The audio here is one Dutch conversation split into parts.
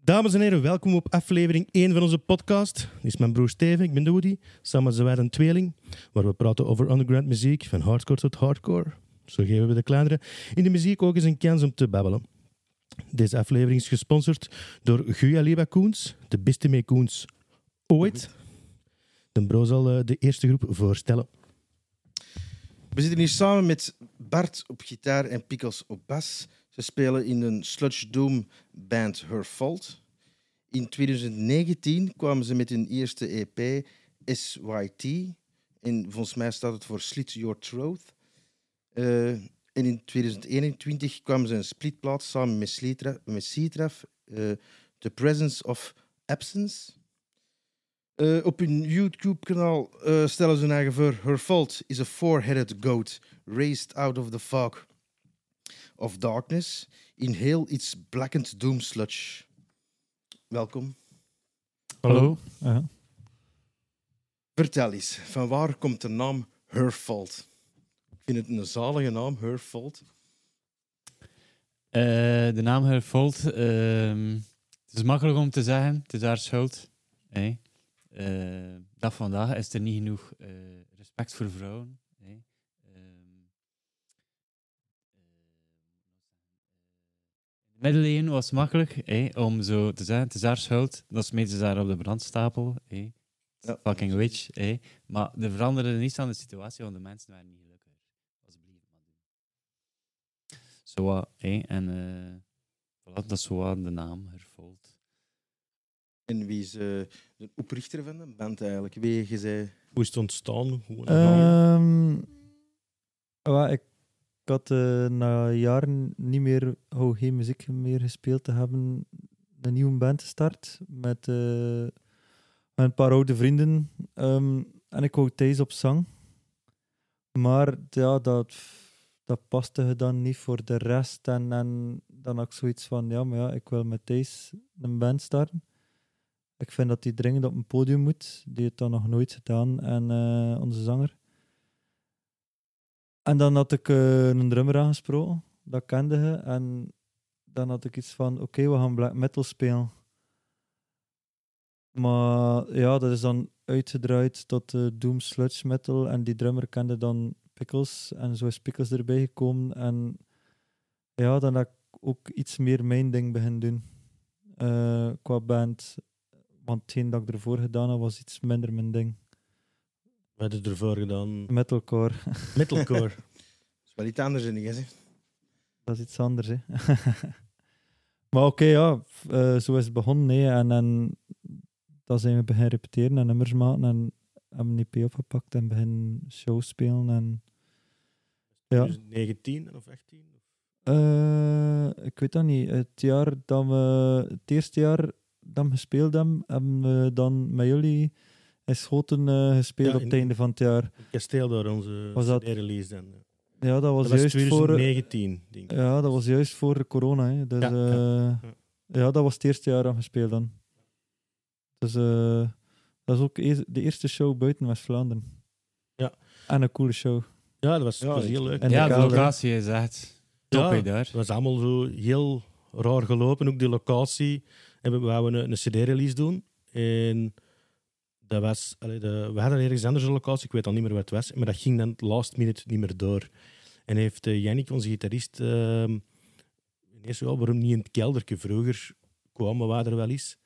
Dames en heren, welkom op aflevering 1 van onze podcast. Dit is mijn broer Steven, ik ben de Woody. Samen zijn wij een tweeling, waar we praten over underground muziek, van hardcore tot hardcore. Zo geven we de kleinere in de muziek ook eens een kans om te babbelen. Deze aflevering is gesponsord door Guya Liba Koens, de beste mee Koens ooit. De bro zal eh, de eerste groep voorstellen. We zitten hier samen met Bart op gitaar en Pickles op bas. Ze spelen in een sludge doom band Her Fault. In 2019 kwamen ze met hun eerste E EP SYT. En volgens mij staat het voor Slit Your Throat. Eh, en in 2021 kwamen ze een splitplaat samen met Slitra- met Citraf, eh, The Presence of Absence. Eh, op hun YouTube-kanaal eh, stellen ze hun eigen voor. Her fault is a four-headed goat raised out of the fog of darkness in heel its blackened doom sludge. Welkom. Hallo. Ja. Vertel eens, van waar komt de naam Her fault? Ik vind het een zalige naam, Her fault. Eh, de naam hervalt. ehm, het is makkelijk om te zeggen, het is haar schuld. Hey. Eh, dag vandaag is er niet genoeg eh, respect voor vrouwen. Hey. Ehm, eh, middeleeuwen was het makkelijk hey, om zo te zeggen, het is haar schuld. Dat smeten ze daar op de brandstapel. Hey. Ja. Fucking witch. Hey. Maar er veranderde niets aan de situatie, want de mensen waren niet gelukkig. Alsjeblieft, maar doen. Zo wat, hé, en eh, voilà, dat is zo wat de naam hervolgt. En wie is eh, de oprichter van de band eigenlijk? Wie eh, je zei? Hoe is het ontstaan? Hoe- Ehm, wel, ik ik had eh, na jaren niet meer, oh, geen muziek meer gespeeld te hebben, een nieuwe band gestart met, eh, met een paar oude vrienden. Ehm, en ik wou thuis op zang. Maar ja, dat, dat paste dan niet voor de rest. En, en dan had ik zoiets van, ja, maar ja, ik wil met Thijs een band starten. Ik vind dat hij dringend op een podium moet. Die heeft dat nog nooit gedaan. En eh, onze zanger. En dan had ik eh, een drummer aangesproken. Dat kende hij. En dan had ik iets van, oké, we gaan black metal spelen. Maar ja, dat is dan uitgedraaid tot eh, doom sludge metal. En die drummer kende dan Pickles. En zo is Pickles erbij gekomen. En ja, dan heb ik ook iets meer mijn ding beginnen doen. eh, qua band. Want hetgeen dat ik ervoor gedaan had, was iets minder mijn ding. We hadden het ervoor gedaan. Metalcore, Metalcore. Dat is wel iets anders in die dat is iets anders. Hè. maar oké, ja, f- eh, zo is het begonnen. hè. En, en dan zijn we beginnen repeteren en nummers maken. En hebben een EP opgepakt en beginnen shows spelen. En, ja. 2019 Dus of 18? Eh, ik weet dat niet. Het, jaar dat we, het eerste jaar dat we gespeeld hebben, hebben we dan met jullie in Schoten eh, gespeeld Ja, op in- het einde van het jaar. Kasteel daar, onze Was dat- CD-release dan. ja. Ja, dat was, Dat was juist voor... 2019, denk ik. Ja, dat was juist voor corona. Hè. Dus, Ja, ja, ja, ja. ja. dat was het eerste jaar aan gespeeld dan. Dus eh, dat is ook ees- de eerste show buiten West-Vlaanderen. Ja. En een coole show. Ja, dat was, Ja, dat was ik- heel leuk. En ja, de de kamer. locatie is echt top Ja, hè, daar. Het was allemaal zo heel raar gelopen. Ook die locatie. En we wouden een, een CD-release doen. En dat was, allee, de- we hadden ergens anders een locatie, ik weet al niet meer wat het was. Maar dat ging dan last minute niet meer door. En heeft eh, Yannick, onze gitarist, ehm ineens ja, waarom niet in het kelderke? Vroeger kwamen we er wel eens.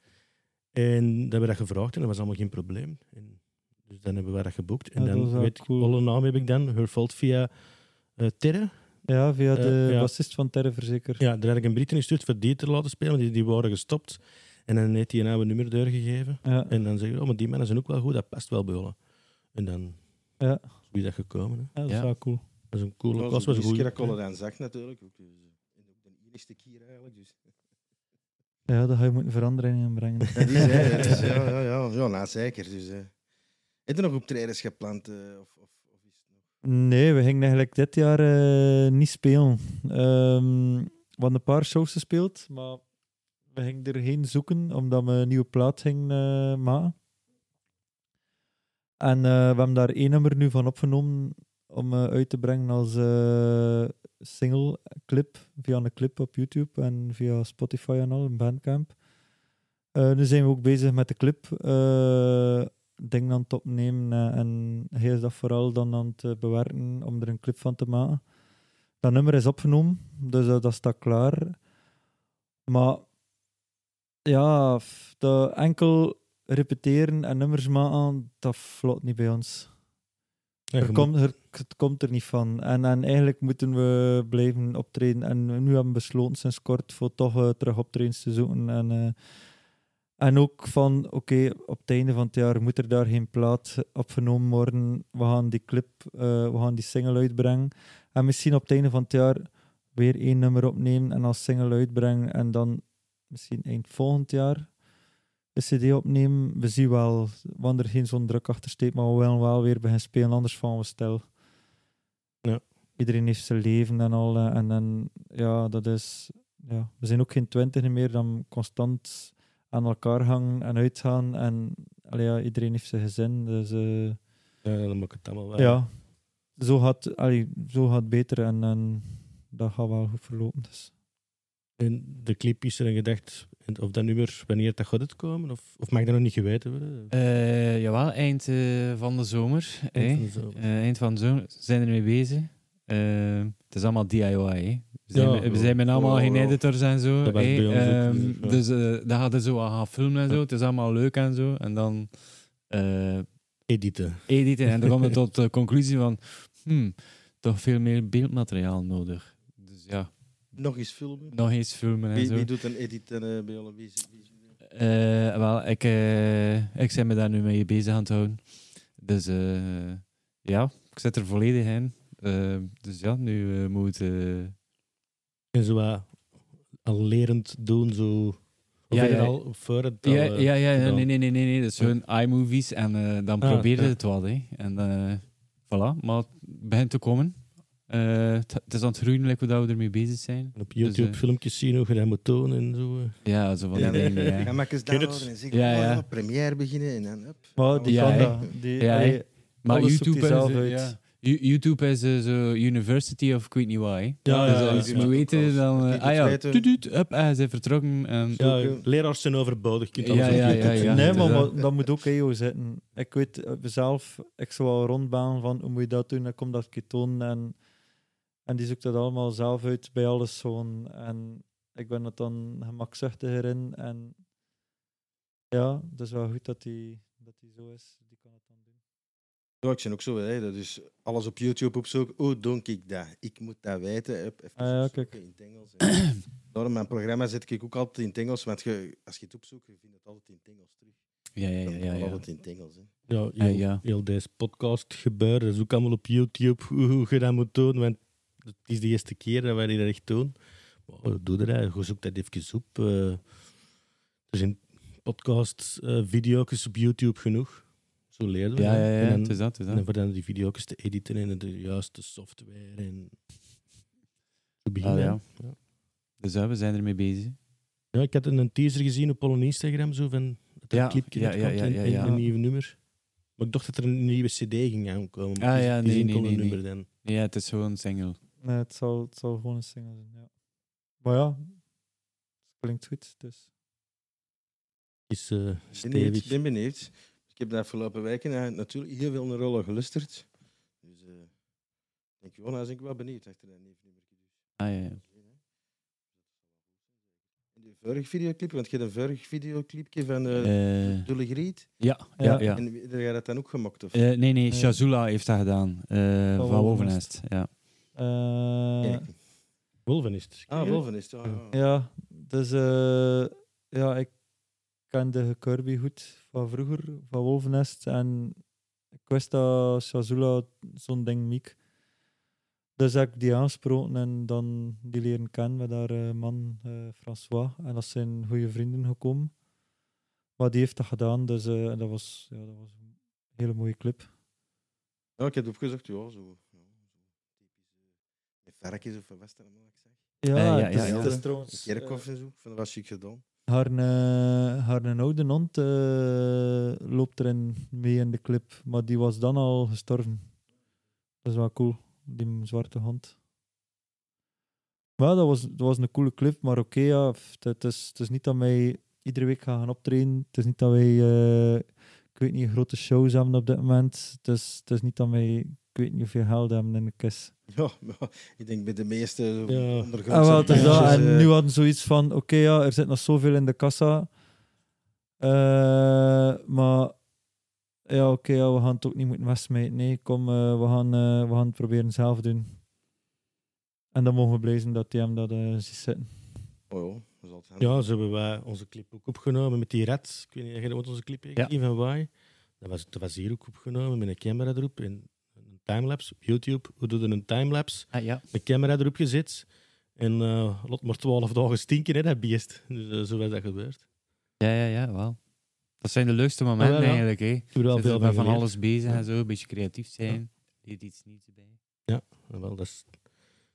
En dat hebben we dat gevraagd en dat was allemaal geen probleem. En, dus dan hebben we dat geboekt. En Ja, dat dan, was wel weet ik, cool. alle naam heb ik dan, Her Fault via eh Terre. Ja, via Eh, de ja. bassist van Terre Verzeker. Ja, daar had ik een Brit in gestuurd voor die te laten spelen, want die, die waren gestopt. En dan heeft hij een oude nummer doorgegeven. Ja. En dan zeg je, oh, maar die mannen zijn ook wel goed, dat past wel bij jullie. En dan Ja. zo is dat gekomen. Hè. Ja, dat is Ja. wel cool. Dat is een coole Dat kast, was de een eerste goeie. keer dat ik al dat zag natuurlijk. Ook, dus, eh, En ook de eerste keer eigenlijk. Dus. Ja, daar ga je moeten verandering in brengen. Dat is, hè, dat is, ja, ja, ja, ja, nou zeker. Dus, eh. Heb je nog optredens gepland? eh, of, of, of is het nog? Nee, we gingen eigenlijk dit jaar eh, niet spelen. Ehm, we hadden een paar shows gespeeld, maar we gingen erheen zoeken omdat we een nieuwe plaat gingen eh, maken. En eh, we hebben daar één nummer nu van opgenomen om eh, uit te brengen als eh, single clip via een clip op YouTube en via Spotify en al, een bandcamp. Eh, nu zijn we ook bezig met de clip. eh ding aan het opnemen. eh, en hij is dat vooral dan aan het eh, bewerken om er een clip van te maken. Dat nummer is opgenomen, dus eh, dat staat klaar. Maar ja, f- dat enkel repeteren en nummers maken, dat vlot niet bij ons. Ja, Er je komt, er, het komt er niet van. En, en eigenlijk moeten we blijven optreden. En nu hebben we besloten sinds kort voor toch eh, terug optredens te zoeken. En, eh, en ook van, oké, op het einde van het jaar moet er daar geen plaat opgenomen worden. We gaan die clip, eh, we gaan die single uitbrengen. En misschien op het einde van het jaar weer één nummer opnemen en als single uitbrengen. En dan misschien eind volgend jaar een cd opnemen. We zien wel, want er geen zo'n druk achter steekt, maar we willen wel weer beginnen spelen, anders van we stel. Ja. Iedereen heeft zijn leven en al. eh, En, en ja, dat is... Ja. We zijn ook geen twintig meer dan constant aan elkaar hangen en uitgaan. En allee, ja, iedereen heeft zijn gezin, dus... eh, moet- ja, dan moet ik het allemaal wel. ja, zo gaat, allee, zo gaat beter en, en dat gaat wel goed verlopen. Dus. In de clip is er een gedacht of dat nummer, wanneer dat gaat het komen? Of, of mag dat nog niet geweten worden? Eh, jawel, eind eh, van de zomer. hè. Eind van de zomer. Eh, eind van de zomer zijn we ermee bezig. Eh, het is allemaal DIY. hè. We zijn, Ja. we zijn met allemaal Oh, geen ja. editors en zo. Dat was hè. bij ons ook Ehm, niet, ja. Dus eh dat gaat er zo aan gaan filmen en zo. Ja. Het is allemaal leuk en zo. En dan eh, Editen. editen. En dan komen we tot de conclusie van... Hmm, toch veel meer beeldmateriaal nodig. Dus ja, Nog eens filmen. nog eens filmen en Wie, zo. wie doet een edit en eh, bij alle wie is- wie is- Eh, wel, ik, eh, ik ben me daar nu mee bezig aan het houden. Dus eh, ja, ik zit er volledig in. Eh, dus ja, nu eh, moet... eh, En zo wat al lerend doen, zo. Of Ja, heb je ja. al voor het al, ja, eh, ja, ja, gedaan? nee, nee, nee, nee, nee. Dat is gewoon iMovies en eh, dan Ah, probeerde ja. het wat. Hè. En eh voilà, maar het begint te komen. Eh, het, het is aan het groeien, like, hoe dat we ermee bezig zijn. En Op YouTube eh, filmpjes zien hoe je dat moet tonen en zo. eh. Ja, zo van Ja, die nee. dingen, ja. Ga maar eens Ken het. downloaden en zeg Ja, oh, ja. ja, première beginnen en dan up. Maar die Ja, kan hè. dat. Die, Ja, hè. allee, Maar Alles zoekt YouTube hij is, zelf eh, uit. ja. U- YouTube is eh, zo University of ik weet niet waar. hè. Oh, Ja, Dus ja, ja, als ja. je moet weten, dan... eh, Titel ah ja, weten. tuut, tuut, up, en hij is vertrokken. ehm, En, Ja, ook, eh, leraars zijn overbodig. Je kunt Ja, alles op ja, YouTube ja, ja. zien. nee, maar, inderdaad. maar dat moet ook EO zitten. Ik weet eh, zelf, ik zou wel rondbaan van hoe moet je dat doen, dan komt dat ketoon en, en die zoekt dat allemaal zelf uit bij alles gewoon. En ik ben het dan gemakzuchtiger in en ja, het is wel goed dat die, dat die zo is. Die kan het dan doen. Ja, ik ben ook zo, hè. dat is alles op YouTube opzoeken. Oh, doe ik dat? Ik moet dat weten. Up, even Ah, ja, opzoeken kijk. in het Engels. hè. Door mijn programma zet ik ook altijd in het Engels, want je, als je het opzoekt, je vindt het altijd in het Engels terug. ja, ja, Dan ja, ja. altijd in het Engels. Hè. Ja, Ja, Ah, heel, ja. heel deze podcast gebeuren. Dus Dat is ook allemaal op YouTube hoe, hoe je dat moet doen. Want het is de eerste keer dat wij dat echt doen. Maar, eh, doe dat, je zoekt dat even op. eh. er zijn podcasts, eh video's op YouTube genoeg. Zo leren we Ja, dat. ja, ja, En het dan, is dat, het is en dan dat. voor dan die video's te editen en de juiste software. En... Zo beginnen. Ah, ja. ja. Dus ja, we zijn ermee bezig. ik had een teaser gezien op al Instagram. Zo van dat Ja, er clipje ja, dat ja, komt ja, en- ja, en ja. een nieuw nummer. Maar ik dacht dat er een nieuwe CD ging aankomen. Ah, Het is- ja, het is nee, enkel nee, een nee, nummer dan. Ja, het is gewoon een single. Nee, het zal, het zal gewoon een single zijn, ja. Maar ja, het klinkt goed, dus... is eh Ik ben benieuwd, stevig. ben benieuwd. Ik heb de afgelopen weken eh, natuurlijk heel veel naar rollen gelusterd. Dus eh denk je, oh, nou ben ik wel benieuwd achter dat nieuwe nummer. Ah, ja, ja. En die vorige videoclip, want je hebt een vorig videoclipje van eh Eh, Dolle Griet. ja, Ja. ja, ja. En wie- heb jij dat dan ook gemokt? Of? Eh, nee, nee, Eh. Shazula heeft dat gedaan. eh, Van van Wolvenest. Wolvenest. Ja. eh, Kijken. Wolvenist. Ah, boven is het. ah, ah. Ja, dus eh, ja, ik kende Kirby goed van vroeger, van Wolvenest. En ik wist dat Shazula zo'n ding miek. Dus heb ik die aansproken en dan die leren kennen met haar eh, man eh, François. En dat zijn goede vrienden gekomen. Maar die heeft dat gedaan, dus eh, en dat, was, ja, dat was een hele mooie clip. Ja, ik heb het opgezocht, ja, zo. Ja, zo. Varkens of wat was dat allemaal, ik zeg. Ja, ja, het is- dus ja, ja. het is trouwens, Een kerkhof eh, en zo, van dat was chic gedaan. Haar, eh, haar een oude hond eh, loopt erin mee in de clip, maar die was dan al gestorven. Dat is wel cool, die zwarte hond. Maar dat was, dat was een coole clip, maar oké, ja, f- het, is, het is niet dat mij iedere week gaan gaan optreden. Het is niet dat wij, eh, ik weet niet, grote shows hebben op dit moment. Het is, het is niet dat wij, ik weet niet hoeveel geld hebben in de kist. Ja, maar ik denk bij de meeste Ja. ondergrondse Ah, wel, het is Ja. dat. bandjes, En eh, nu hadden ze zoiets van, oké ja, er zit nog zoveel in de kassa. Eh, maar ja, oké, ja, we gaan het ook niet moeten wegsmijten. Nee, kom, eh, we, gaan, eh, we gaan het proberen zelf doen. En dan mogen we blij zijn dat die hem dat eh ziet zitten. Oh, ja, dat is altijd handig. Ja, zo hebben wij onze clip ook opgenomen met die red. Ik weet niet of je dat ooit onze clip hebt Ja. gezien van Wai. Dat was, dat was hier ook opgenomen met een camera erop en een timelapse op YouTube. We doen een timelapse, Ah, ja. een camera erop gezet en eh lot maar twaalf dagen stinken, hè, dat beest. Dus eh, zo was dat gebeurd. Ja, ja, ja, wel. Dat zijn de leukste momenten Ah, wel, ja. eigenlijk, hè. Ik heb er wel Zitten veel met van, van geleerd. alles bezig Ja. en zo, een beetje creatief zijn. Deed iets nieuws erbij. Ja, wel, dat is,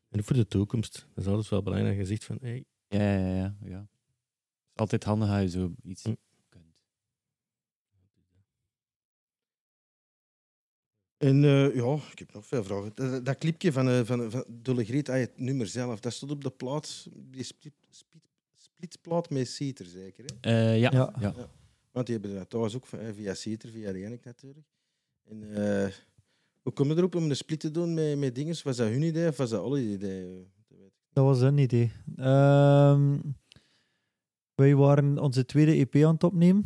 en ook voor de toekomst. Dat is altijd wel belangrijk. Je zegt van, hey, Ja, ja, ja. ja. Het is altijd handig als je zo iets Hm. kunt. En eh, ja, ik heb nog veel vragen. Dat, dat clipje van, eh, van, van Dolle Greet, ah, het nummer zelf, dat stond op de plaat, die split, split, splitplaat met Citer zeker. Hè? Eh, ja. Ja. Ja. Want die hebben dat thuis ook eh, via Citer, via Renik natuurlijk. En eh, hoe kom je erop om een split te doen met, met dingen? Was dat hun idee of was dat alle idee? Dat was een idee. Ehm, wij waren onze tweede EP aan het opnemen.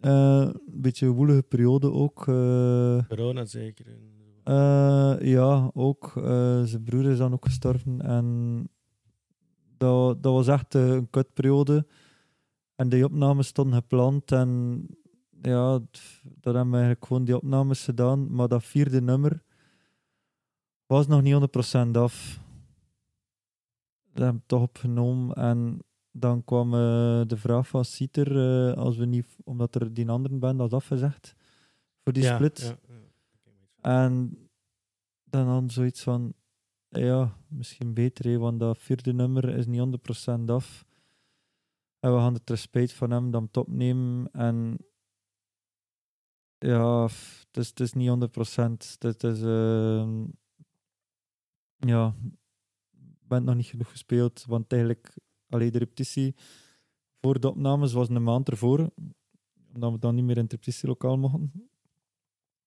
Eh, een beetje een woelige periode ook. eh. corona zeker. En, Eh, ja, ook. eh, zijn broer is dan ook gestorven. En dat, dat was echt eh, een kutperiode. En die opnames stonden gepland. En ja, t- dat hebben we eigenlijk gewoon die opnames gedaan. Maar dat vierde nummer was nog niet 100% af. Dat hebben we toch opgenomen. En dan kwam eh, de vraag van Citer, eh, als we niet, omdat er die andere band had afgezegd voor die ja, split. Ah, ja, ja. En dan dan zoiets van, ja, misschien beter, hè, want dat vierde nummer is niet 100% af. En we gaan het respect van hem dan top nemen. En ja, f- het is, het is niet 100%. Het is, ehm, ja, ik ben nog niet genoeg gespeeld, want eigenlijk, alleen de repetitie voor de opnames was een maand ervoor, omdat we dan niet meer in het repetitielokaal mochten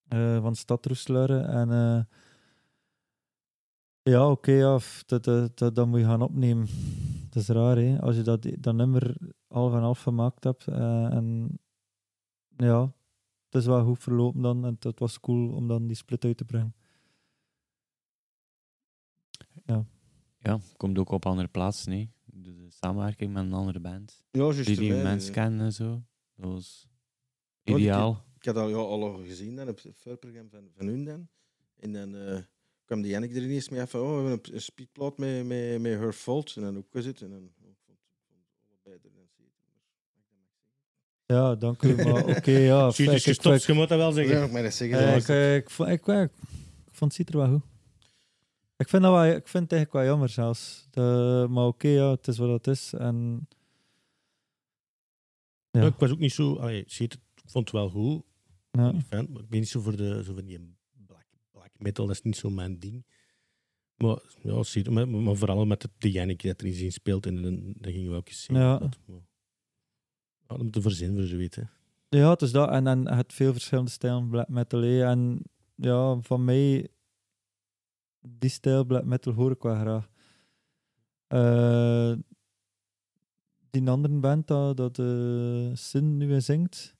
eh, van Stadroesleuren. En eh, ja, oké, ja, f- dat, dat, dat, dat moet je gaan opnemen. Dat is raar, hè? Als je dat, dat nummer half en half gemaakt hebt. eh, en ja, het is wel goed verlopen dan. En het was cool om dan die split uit te brengen. Komt ook op andere plaatsen, nee. Doe de samenwerking met een andere band. Ja, juist Die die erbij, mensen eh. kennen en zo. Dat was Ja, die ideaal. ik had al, ja, al gezien dan, op het voorprogramma van, van hun dan. En dan eh, kwam die Jannik er ineens mee af van, oh, we hebben een, een speedplot met, met, met Her Fault. En dan ook gezet. En dan oh, ik vond ik vond allebei er dan zitten. Ja, dank u. Maar oké, ja. Zie je, dus ik- ik- gestopt, je moet dat wel Dat wil zeggen. ik nog maar eens zeggen. Eh, dat ik, was- eh, ik, vo- ik, eh, ik vond het er wel goed. Ik vind, dat wel, ik vind het eigenlijk wel jammer zelfs. De- maar oké, ja, het is wat het is. En Ja. Ja, ik was ook niet zo... Allee, shit, ik vond het wel goed. ja. Ik ben- maar ik ben niet zo voor, de, zo van die black, black metal, dat is niet zo mijn ding. Maar, ja, shit, maar, maar vooral met het, de Jannik dat erin in speelt, en dan, dan gingen we ook eens zien. Ja. Dat, maar, ja, dat moet er voor zin voor zoiets. hè. Ja, het is dat. En, en het veel verschillende stijlen black metal. hè. En ja, van mij, die stijl black metal hoor ik wel graag. Eh, die andere band dat, dat eh, Sin nu in zingt,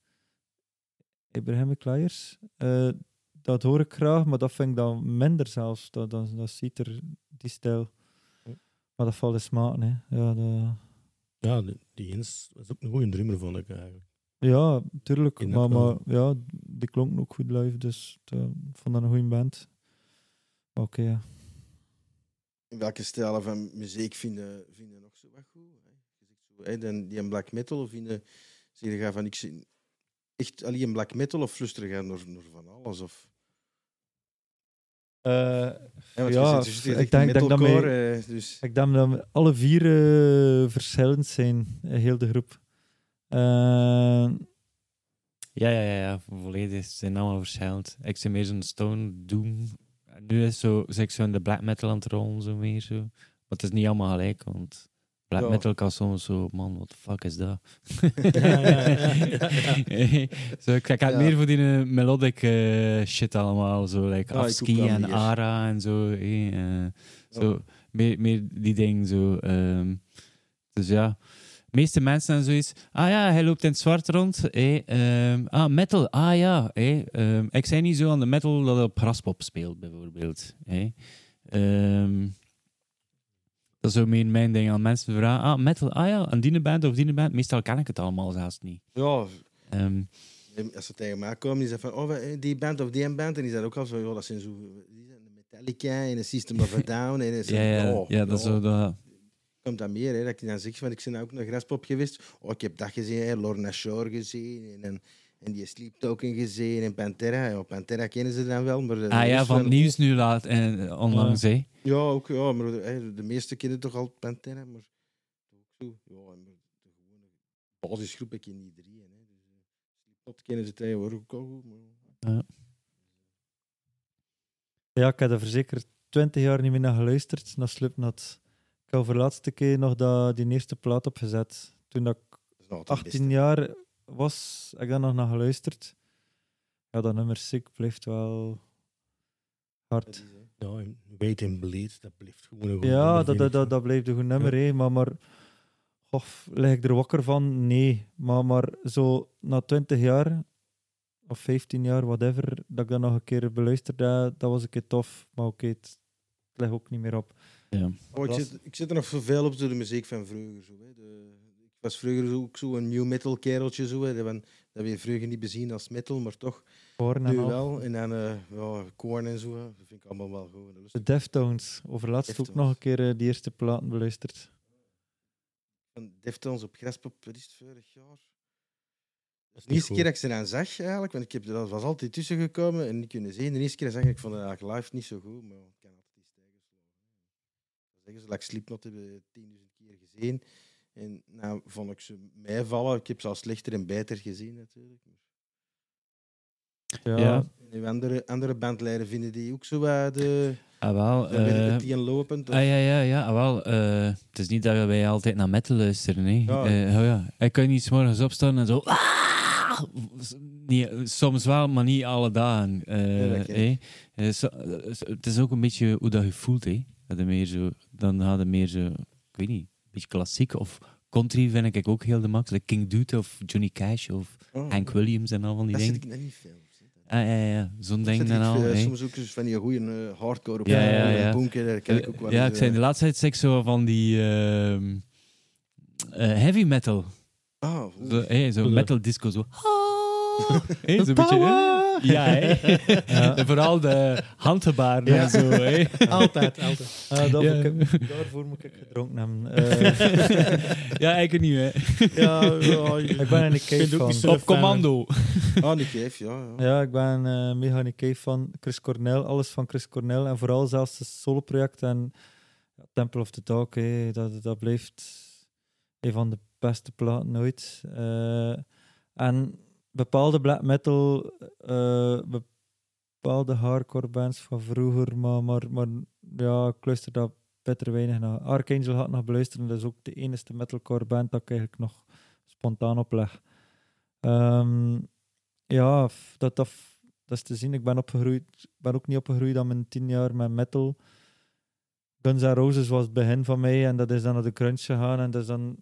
Ibrahim Kleiers, eh, dat hoor ik graag, maar dat vind ik dan minder zelfs. Dat, dat, dat ziet er, die stijl. Maar dat valt in smaken, hè. Ja, dat... Ja, die- die Jens was ook een goede drummer, vond ik eigenlijk. Ja, tuurlijk. In dat Maar, maar wel. ja, die klonk ook goed live, dus het, eh, ik vond dat een goede band. Maar Oké, ja. In welke stijlen van muziek vinden, vinden nog zo wat goed? Hè? Je zegt zo, hè, dan die een black metal of vinden... Zeg je gaan van, ik zie echt alleen black metal of luister gaan naar, naar van alles? Of, hè, want je Ja, zit- je zit hier ik echt denk- ik denk dat metalcore, eh, dus... Ik denk dat we alle vier eh, verschillend zijn, eh, heel de groep. Eh, Ja, ja, ja, ja. Volledig. Ze zijn allemaal verschillend. Ik zit meer zo'n Stone Doom. En nu is zo, zeg ik zo in de black metal aan het rollen, zo meer zo. Maar het is niet allemaal gelijk, want Black Ja. metal kan soms zo, man, what the fuck is dat? Ja, ja, ja, ja, zo, ik ik had Ja. meer voor die eh, melodic eh, shit allemaal, zo, like Ah, ik ook Afsky wel en meer. Ara en zo. eh, eh, zo meer, meer die dingen zo. ehm. dus ja, de meeste mensen en zoiets. Ah ja, hij loopt in het zwart rond. eh, ehm, ah, metal. Ah ja, eh, ehm, ik zei niet zo aan de metal dat op graspop speelt, bijvoorbeeld. eh. Ehm, dat is zo meer mijn ding aan mensen vragen. Ah, metal. Ah ja, een die band of die band. Meestal ken ik het allemaal zelfs niet. Ja, Ehm, als ze tegen mij komen, die zeggen van, oh, we- die band of die band, en die zijn ook al zo, ja, dat zijn zo, die zijn de Metallica en de System of a Down, en oh, ja, ja, ja, dat is zo dat. komt dat meer, hè, dat ik dan zeg van ik ben nou ook naar Graspop geweest. Oh, ik heb dat gezien, hè, Lorna Shore gezien en, en, en die Sleep Token gezien en Pantera. Ja, Pantera kennen ze dan wel, maar de Ah ja, rest van het wel- nieuws nu laat en onlangs, hè. Ja, ook, ja, maar de, hè, de meeste kennen toch al Pantera, maar ook zo. Ja, en de gewone basisgroep heb je niet drie. Hè, dus, eh, Slipknot kennen ze tegenwoordig ook al goed. Maar, Ja, ik heb er zeker twintig jaar niet meer naar geluisterd, naar Slipknot. Ik heb voor de laatste keer nog dat, die eerste plaat opgezet. Toen dat ik dat is nou het 18 beste. jaar was, heb ik daar nog naar geluisterd. Ja, dat nummer Sick blijft wel Dat hard. is, hè. ja, en Wait and Bleed, dat blijft gewoon een goed Ja, nummer, dat, vind dat, ik. dat, dat blijft een goed nummer, hè. Maar, maar of lig ik er wakker van? Nee. Maar, maar zo na 20 jaar of 15 jaar, whatever, dat ik dat nog een keer beluisterd heb, dat was een keer tof. Maar oké, het, het ligt ook niet meer op. Ja. Oh, ik, Klas. zit, ik zit er nog veel op zo de muziek van vroeger. Zo, hè. De, ik was vroeger zo ook zo een new metal kereltje. Zo, hè. Dat, we, dat we vroeger niet bezien als metal, maar toch Horen en nu al. wel. En dan eh ja, Korn en zo. hè. Dat vind ik allemaal wel goed. Dat is- De Deftones. Overlaatst ook Deftones. nog een keer eh, die eerste platen beluisterd. Van Deftones op Graspop, wat is het, vorig jaar? Dat is niet De eerste goed. keer dat ik ze dan zag, eigenlijk, want ik heb, dat was altijd tussen gekomen en niet kunnen zien. De eerste keer zag ik, ik vond het eigenlijk live niet zo goed, maar ik kan altijd iets tegen Dat eh, zeggen ze, dat ik Slipknot heb eh, 10.000 keer gezien. En nou vond ik ze mij vallen. Ik heb ze al slechter en beter gezien, natuurlijk. Ja. Ja. En nu andere, andere bandleider vinden die ook zo wat de... Ah, wel. dan ben ik eh, het die lopend. Ah, ja, ja, ja, ah, wel. eh, het is niet dat wij altijd naar metal luisteren, hè. Ja. Eh, oh ja. Ik kan niet 's morgens opstaan en zo... "Ah!" S- niet- soms wel, maar niet alle dagen. eh, Ja, dat ken hè. Eh, so- eh, so- het is ook een beetje hoe dat je voelt, hè. Dat je meer zo, dan gaat het meer zo... Ik weet niet, een beetje klassiek of... Country vind ik ook heel de max. Like King Dude of Johnny Cash of Oh, Hank Williams en al van die Dat zit ik dingen. net niet veel. op, zeg. Ah, ja, ja, zo'n Zet ding ik, en al. eh, hè. soms ook eens van die goede hardcore op Ja, eh, ja, ja. bunker, daar ken ik ook wel ja, eens, ik zei eh. de laatste tijd zeg ik zo van die ehm, eh, heavy metal. Ah, oeh. Zo, hey, zo Oeh. metal disco zo. Hey, The zo'n beetje, hè? power! ja, hè? En vooral de handgebaren Ja. en zo. hè. Altijd, altijd. Ah, dat Ja. moet ik- daarvoor moet ik gedronken hebben. Eh, ja, ik niet, hè? Ja, ja, ik ben er een cave vind ook van. niet zo- Op commando. Ah, die geef, ja. ja. Ja, ik ben eh mega een cave van Chris Cornell. Alles van Chris Cornell. En vooral zelfs het soloproject en ja, Temple of the Dog. hè, dat, dat blijft een van de beste platen ooit. Eh, en bepaalde black metal, eh, bepaalde hardcore bands van vroeger, maar, maar, maar ja, ik luister daar beter weinig naar. Archangel had nog beluisteren, dat is ook de enige metalcore band dat ik eigenlijk nog spontaan opleg. Ehm, ja, f- dat, dat, f- dat is te zien. Ik ben, opgegroeid, ik ben ook niet opgegroeid aan mijn tien jaar met metal. Guns N' Roses was het begin van mij en dat is dan naar de crunch gegaan en dat is dan...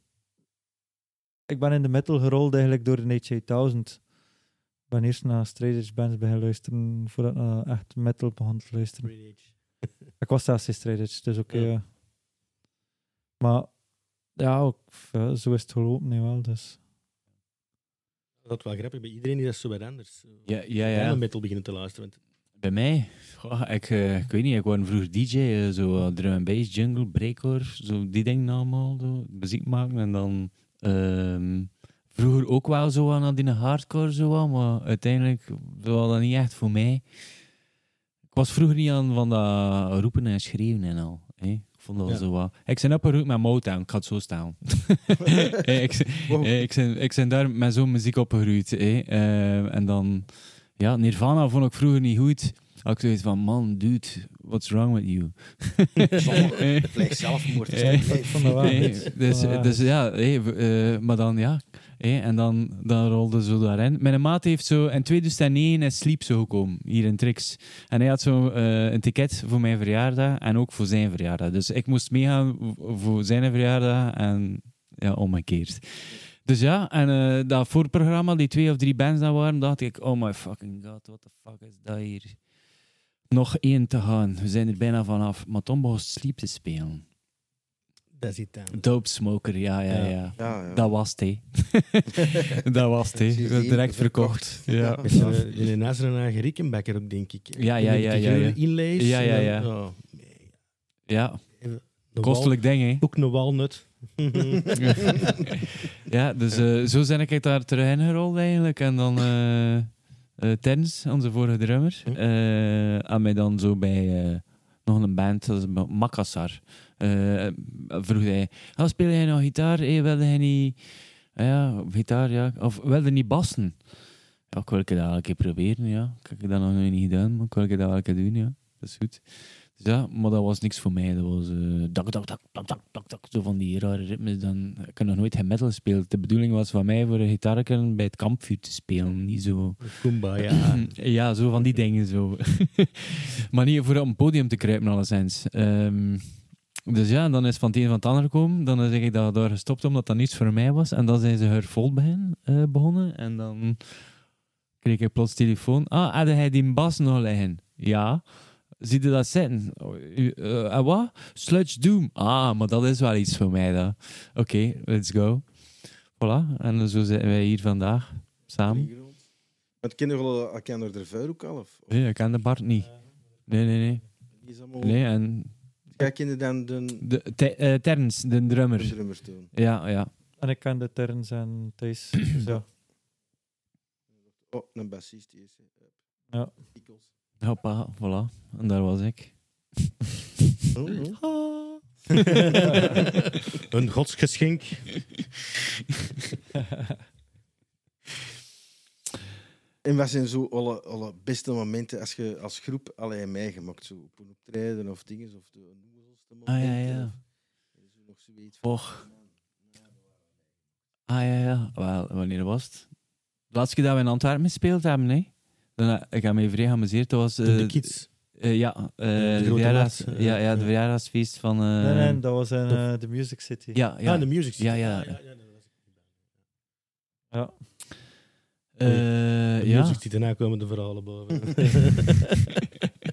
Ik ben in de metal gerold eigenlijk door de H8000. Ik ben eerst naar strijdersbands beginnen luisteren voordat ik naar echt metal begon te luisteren. Ik was zelfs in Stradage, dus oké. Ja. ja. Maar ja, ook, ja, zo is het gelopen nu wel. Dus. Dat is wel grappig. Bij iedereen die dat zo wat anders. Ja, ja, Allemaal ja. metal beginnen te luisteren. want- Bij mij, Goh, ik, eh, ik weet niet, ik was vroeger DJ, eh, zo eh, drum and bass, jungle, breakcore, zo die dingen allemaal, zo, muziek maken en dan ehm, vroeger ook wel zo aan die hardcore, zo, wat, maar uiteindelijk was dat niet echt voor mij. Ik was vroeger niet aan van dat roepen en schreeuwen en al. Hè. Ik vond dat Ja. zo wat. Ik ben opgeroepen met Motown, ik ga het zo staan. Eh, ik, Wow. eh, ik, ben, ik ben daar met zo'n muziek opgegroeid. hè. Ehm, Eh, en dan, ja, Nirvana vond ik vroeger niet goed. Had ik zoiets van, man, dude, What's wrong with you? Sommigen plegen zelfmoord. Eh, Hey. Ik vond dat wel Nee, goed. dus, Maar- dus ja, hé, w- eh, maar dan ja. hé, en dan, dan rolde zo daarin. Mijn maat heeft zo dus in 2009 in Sleep zo gekomen, hier in Trix. En hij had zo eh, een ticket voor mijn verjaardag en ook voor zijn verjaardag. Dus ik moest meegaan v- voor zijn verjaardag en ja, omgekeerd. Dus ja, en eh, dat voorprogramma, die twee of drie bands daar waren, dacht ik, oh my fucking god, what the fuck is dat hier? Nog één te gaan, we zijn er bijna vanaf. Maar Tom begon Sleep te spelen. Dat is het aan. Dope smoker, ja, ja, Ja. ja. Ja, ja. Dat was het, hè. Dat was het, hè. Zie je, Direct verkocht. Ja. Met zijn, eh, die Nazaren en Riekenbekker ook, denk ik. Ja, ja, ja, Die ja, ja. groene inlays. Ja, ja, en ja. dan, oh, Ja, de kostelijk ding, hè. wal- ook een walnut. Ja, dus eh, zo ben ik daar terug ingerold, eigenlijk. En dan eh eh, Terns, onze vorige drummer, Hm. eh, had mij dan zo bij eh, nog een band, dat is Makassar. Eh, vroeg hij, "Ah, speel jij nog gitaar? Hey, wilde hij niet... Ah ja, gitaar, ja. Of wilde niet bassen? Ja, ik wil dat wel een keer proberen, ja. Ik heb dat nog nooit niet gedaan, maar ik wil dat wel een keer doen, ja. Dat is goed. Dus ja, maar dat was niks voor mij. Dat was eh dak, dak, dak, dak, dak, dak, dak, zo van die rare ritmes. Dan, ik heb nog nooit geen metal gespeeld. De bedoeling was van mij voor een gitaarken bij het kampvuur te spelen. Niet zo... Kumbaya. Ja, zo van die dingen zo. maar niet voor op een podium te kruipen, alleszins. Ehm dus ja, dan is van het een van het ander gekomen. Dan zeg ik dat daar gestopt omdat dat niets voor mij was. En dan zijn ze haar vol begin, eh, begonnen. En dan kreeg ik plots telefoon. Ah, had hij die bas nog liggen? Ja. Zie je dat zitten? Oh, u- eh, en wat? Sludge Doom. Ah, maar dat is wel iets voor mij dan. Oké, let's go. Voilà, en zo zijn wij hier vandaag samen. Want kennen jullie elkaar er verder ook al? Of, of Nee, ik ken de Bart niet. Nee, nee, nee. is dat maar... Nee, en Jij kende dan de de, te, eh, Terns, de drummer. drummer toen. Ja, ja. En ik kan de Terns en Thijs. Dus ja. Oh, een bassist die is. eh, Ja. Pickles. Hoppa, voilà. En daar was ik. Oh, oh. Ah. een godsgeschenk. En wat zijn zo alle, alle beste momenten als je als groep allerlei meegemaakt? Zo op een optreden of dingen? Of de noezelste Ah, momenten? ja, ja. Of, is er nog zoiets van, Och. Ah, ja, ja. Wel, wanneer was het? De laatste keer dat we in Antwerpen gespeeld hebben, nee. Dan, eh, ik heb me vrij geamuseerd. Dat was... eh, de kids. eh, ja, eh, de grote verjaardags- markt, eh, ja, ja, ja. de verjaardagsfeest van... eh, Nee, nee, dat was in eh, de Music City. ja, Ja, ja. Ah, de music. Ja, ja. Ja. Eh, De ja. music die daarna komen de verhalen boven.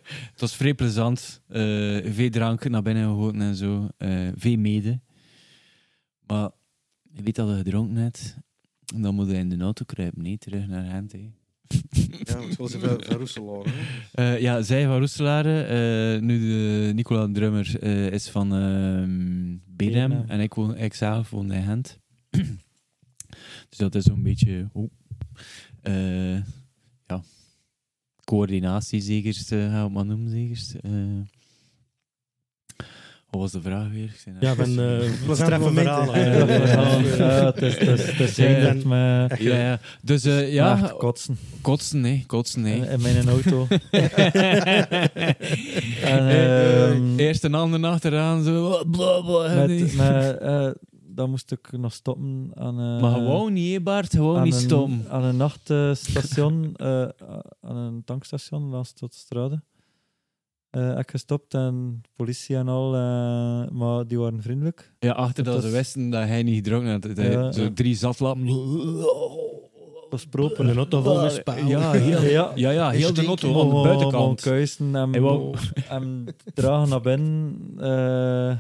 Het was vrij plezant. Eh, veel drank naar binnen gegoten en zo. Eh, veel mede. Maar je weet dat je gedronken hebt. En Dan moet je in de auto kruipen, niet terug naar Gent. hè. Ja, want zoals van, van Roeselaar. hè. Eh, ja, zij van Roeselare. eh, nu de Nicola de Drummer eh, is van ehm Bedem. Bedem. En ik, woon, ik zelf woon in Gent. dus dat is zo'n beetje... oh, eh, ja. Coördinatie zekerst, eh, gaan we het maar noemen zekerst. eh. wat was de vraag weer? Ik zei net- ja, van eh straffe momenten. verhalen. Ja, Ja, ja, ja. het is- het is- het is Ja, ja. eigenlijk met ja, ja. Dus eh, ja, ja, kotsen kotsen, nee. Kotsen, nee. in, in mijn auto. En, Eh, ehm, Eerst een ander achteraan, zo... "Oh, Bla, bla, met, nee. met, eh, dan moest ik nog stoppen aan... eh, Maar gewoon niet, hè, Bart. Gewoon aan niet een- stom. Aan een nachtstation, eh, aan een tankstation naast tot strade. Eh ik gestopt en politie en al, eh, maar die waren vriendelijk. Ja, achter dat, Dat ze is- wisten dat hij niet gedronken had. Dat hij Ja, zo ja. drie zatlappen. Dat was proper. Een auto vol met spouwen. Ja, heel, Ja. ja, ja, heel de Stinken. auto aan de buitenkant. kuisen en, Hij wou- en dragen naar binnen. eh,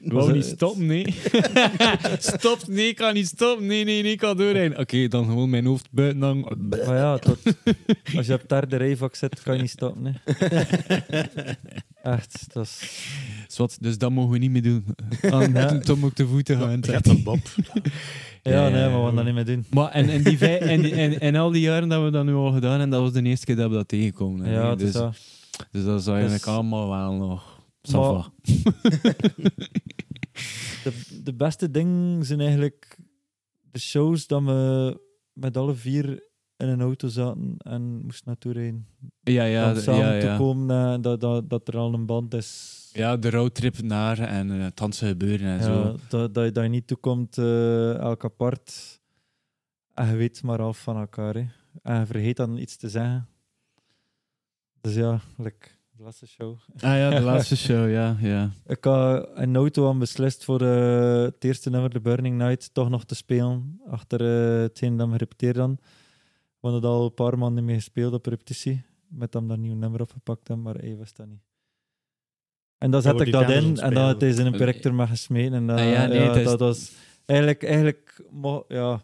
Ik was wou het- niet stoppen, nee. Stop, nee, ik kan niet stoppen. Nee, nee, nee, ik kan doorheen. Oké, dan gewoon mijn hoofd buiten hangen. Maar Ah ja, tot, als je op het derde rijvak zit, kan je niet stoppen. Hè. Echt, dat is... Zwat, dus dat mogen we niet meer doen. Aan, Oh, Ja. Tom ook de voeten gaan. Gaat een Bob. Ja, Ja, nee, ja, maar we ja. gaan dat niet meer doen. Maar en, en, die vij- en, die- en, en al die jaren dat we dat nu al gedaan en dat was de eerste keer dat we dat tegenkomen. hè. Ja, het is dus, dat. dus dat is eigenlijk Dus- allemaal wel nog. Ça Maar- va. De, de beste dingen zijn eigenlijk de shows dat we met alle vier in een auto zaten en moest naartoe rijden. Ja, ja, om de- samen ja, te ja. komen eh, dat, dat, dat er al een band is. ja, de roadtrip naar en eh het Hanse gebeuren en Ja, zo. dat, dat, je- dat je niet toekomt eh elk apart. En je weet maar af van elkaar. Hè. En je vergeet dan iets te zeggen. Dus ja, like, de laatste show. Ah ja, de laatste show, ja. ja. Ik had een auto aan beslist voor eh, het eerste nummer, The Burning Night, toch nog te spelen. Achter eh, hetgeen dat we gerepeteerd hadden. We hadden het al een paar maanden mee gespeeld op repetitie. Met hem dat nieuw nummer opgepakt hebben, maar hij was dat niet. En dan zet wordt ik die dat tenders in en dan had hij zijn Eh, projector maar gesmeten. En dat, Ah ja, nee, ja, het is- dat was eigenlijk, eigenlijk mo- ja,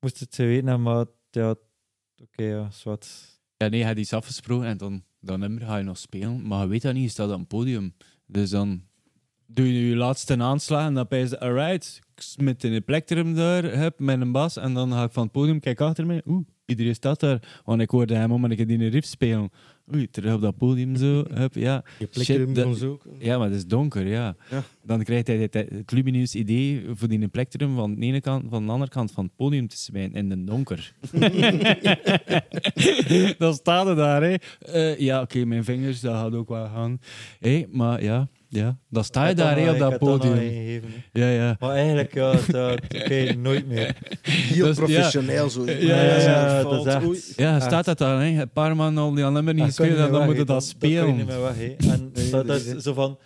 moest het ze weten, hebben, maar ja, oké, ja, zwart. Ja, nee, je hebt iets afgesproken en dan dat nummer ga je nog spelen. Maar je weet dat niet, je staat op een podium. Dus dan doe je je laatste aanslag en dan pijs je, alright, ik smit in een plektrum daar, heb met een bas. En dan ga ik van het podium, kijk achter me, oeh, iedereen staat daar. Want ik hoorde hem, maar ik heb die een riff spelen. Oei, terug op dat podium zo, hup, ja. Je plekt hem dat- van zo. Ja, maar het is donker, ja. Ja. Dan krijgt hij het, het lumineus idee voor die plektrum van de ene kant, van de andere kant van het podium te zijn in de donker. dan staat het daar, hè. Eh, ja, oké, mijn vingers, dat gaat ook wel gaan. Hé, maar ja, ja, dan sta je Ik had daar, hè, op ik dat had nog podium. ingegeven, hè. Ja, ja. Maar eigenlijk, ja, dat, oké, nooit meer. Heel Dat is- professioneel zo. Ja, ja, ja, dat valt. is echt- Ah, Oei. Ja, Echt. staat dat daar, hè. Een paar maanden al die aan nummer niet Dat kan gespeeld, en dan niet moet meer je weg, dat hè. Dat kan je spelen. niet meer weg, hè. En Nee, dat, dat is is het. zo van...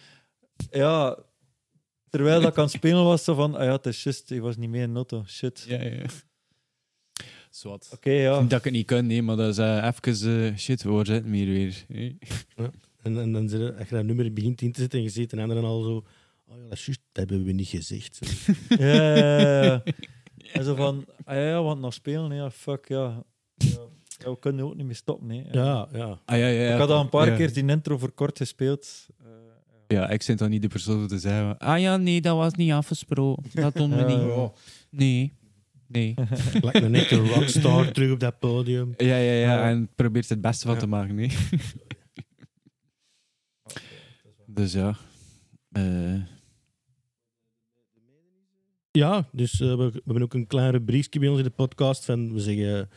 Ja, terwijl dat kan spelen was zo van... Ah ja, het is just, ik was niet meer in auto. Shit. Ja, ja. Zwat. Oké, ja. Dat ik het niet kan, nee, maar dat is eh, even eh, shit, waar zitten we hier weer? hè. En, en dan zit je- als je dat nummer begint in te zetten en je ziet een anderen al zo. Oh ja, dat, is juist, dat hebben we niet gezegd. Zo. Ja, ja, ja, ja. En zo van... Ah ja, ja, want nog spelen, ja, fuck, ja. ja. Ja, we kunnen ook niet meer stoppen, hè. Ja, ja. Ah, ja, ja, ja. Ik had al een paar Ja. keer die intro voor kort gespeeld. Eh, Ja, ik zit dan niet de persoon om te zeggen. Ah ja, nee, dat was niet afgesproken. Dat doen we Ja, niet. ja. Nee, nee. Lijkt me net een rockstar terug op dat podium. Ja, ja, ja. Ja. En probeert het beste van Ja. te maken, nee. dus ja. Eh, Ja, dus eh, we, we hebben ook een klein rubriekje bij ons in de podcast. Van, we zeggen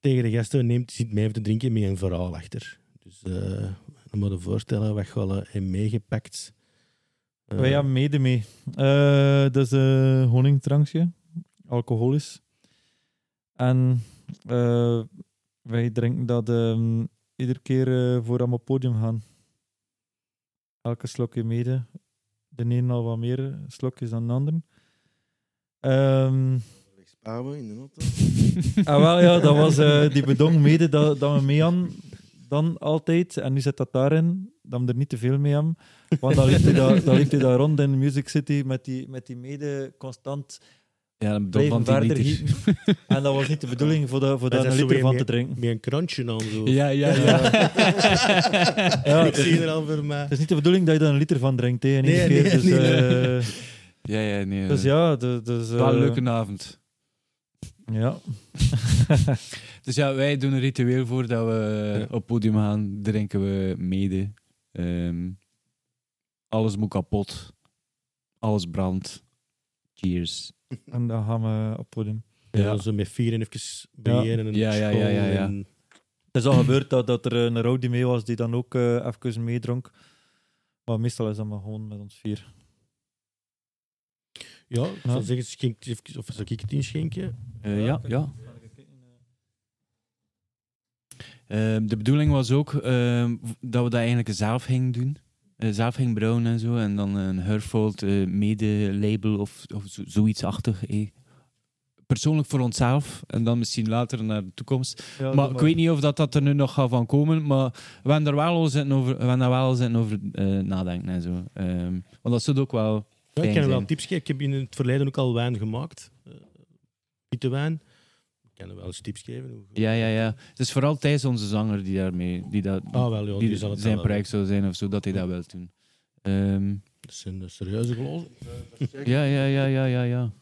tegen de gasten, neemt iets mee om te drinken met een verhaal achter. Dus eh dan moet je voorstellen wat je al hebt meegepakt. Oh Eh, Wij hebben Oh mede mee. Eh, dat is een honingdrankje, alcoholisch. En eh, wij drinken dat ehm, iedere keer eh, voor aan het podium gaan. Elke slokje mede. De een al wat meer slokjes dan de ander. Ehm Spouwen in de auto. ah, wel, ja, dat was eh, die bedong mede dat, dat we mee hadden. Dan altijd, en nu zit dat daarin, dat we er niet te veel mee hebben. Want dan liep hij daar, dan liep hij daar rond in Music City met die, met die mede constant ja, een bidon blijven van 10 verder liter. gieten. En dat was niet de bedoeling voor, dat voor daar dat een zo liter weer van te drinken. Met een krantje aan zo. Ja, ja, ja. Ja, Ik zie er al voor mij. Het is niet de bedoeling dat je daar een liter van drinkt, hè, in Nee, één nee, keer. dus, nee, eh, ja, ja, nee. Eh. dus ja, du- dus... Wel een eh, leuke avond. Ja. Dus ja, wij doen een ritueel voor dat we Ja. op het podium gaan. Drinken we mede. Ehm, alles moet kapot. Alles brandt. Cheers. En dan gaan we op het podium. Ja. Ja. zo met vieren even beginnen. en Ja, ja, ja, ja, ja. school en- Het is al gebeurd dat, dat er eh, een Rowdy mee was die dan ook eh, even meedronk. Maar meestal is dat maar gewoon met ons vier. ja, ik Ja. zou zeggen, schenk het even- of zou ik het inschenken? Eh, ja, ja. Ehm, de bedoeling was ook ehm, v- dat we dat eigenlijk zelf gingen doen. Eh, zelf gingen brouwen en zo. En dan een Herfold eh, mede-label of, of zo- zoiets-achtig. eh. Persoonlijk voor onszelf. En dan misschien later naar de toekomst. Ja, Maar doe ik weet niet of dat, dat er nu nog gaat van komen. Maar we hebben daar wel al zitten over, we hebben daar wel al zitten over eh, nadenken en zo. Ehm, want dat zit ook wel. Ja, ik kan Fijn zijn. wel tips geven. Ik heb in het verleden ook al wijn gemaakt. Eh, Witte wijn. Ik kan er wel eens tips geven. Hoe- Ja, ja, ja. Het is vooral Thijs, onze zanger, die daarmee. Die dat, Ah, wel, ja, die, die zal het zijn wel weten. project zou zijn of zo, dat hij dat wil doen. Ehm, Dat zijn eh, serieuze glozen. ja, ja, ja, ja, ja, ja.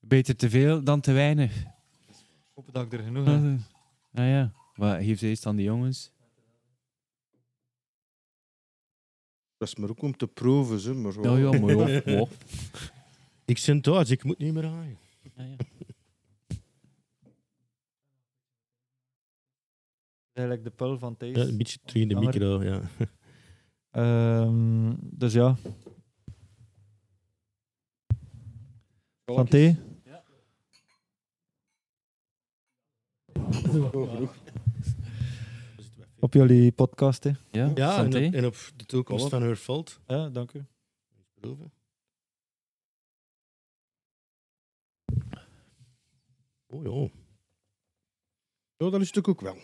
Beter te veel dan te weinig. maar. Ik hoop dat ik er genoeg heb. Ja, ja. Wat heeft hij dan die jongens? Dat is maar ook om te proeven, ze. Maar Ja, Nou, ja, mooi. hoor. Wow. Ik zit thuis, ik moet niet meer aan. Ja, ja. Eigenlijk de pul van Ja, Thijs. een beetje terug in de Langer. micro, ja. Ehm, dus ja. Van Kalkjes? thee? Oh, genoeg. Op jullie podcast, hè? Ja, Ja, en, Santé. op- en op de toekomst Klopt. van haar valt. Ja, dank u. Oh ja, Oh, dat is natuurlijk ook wel.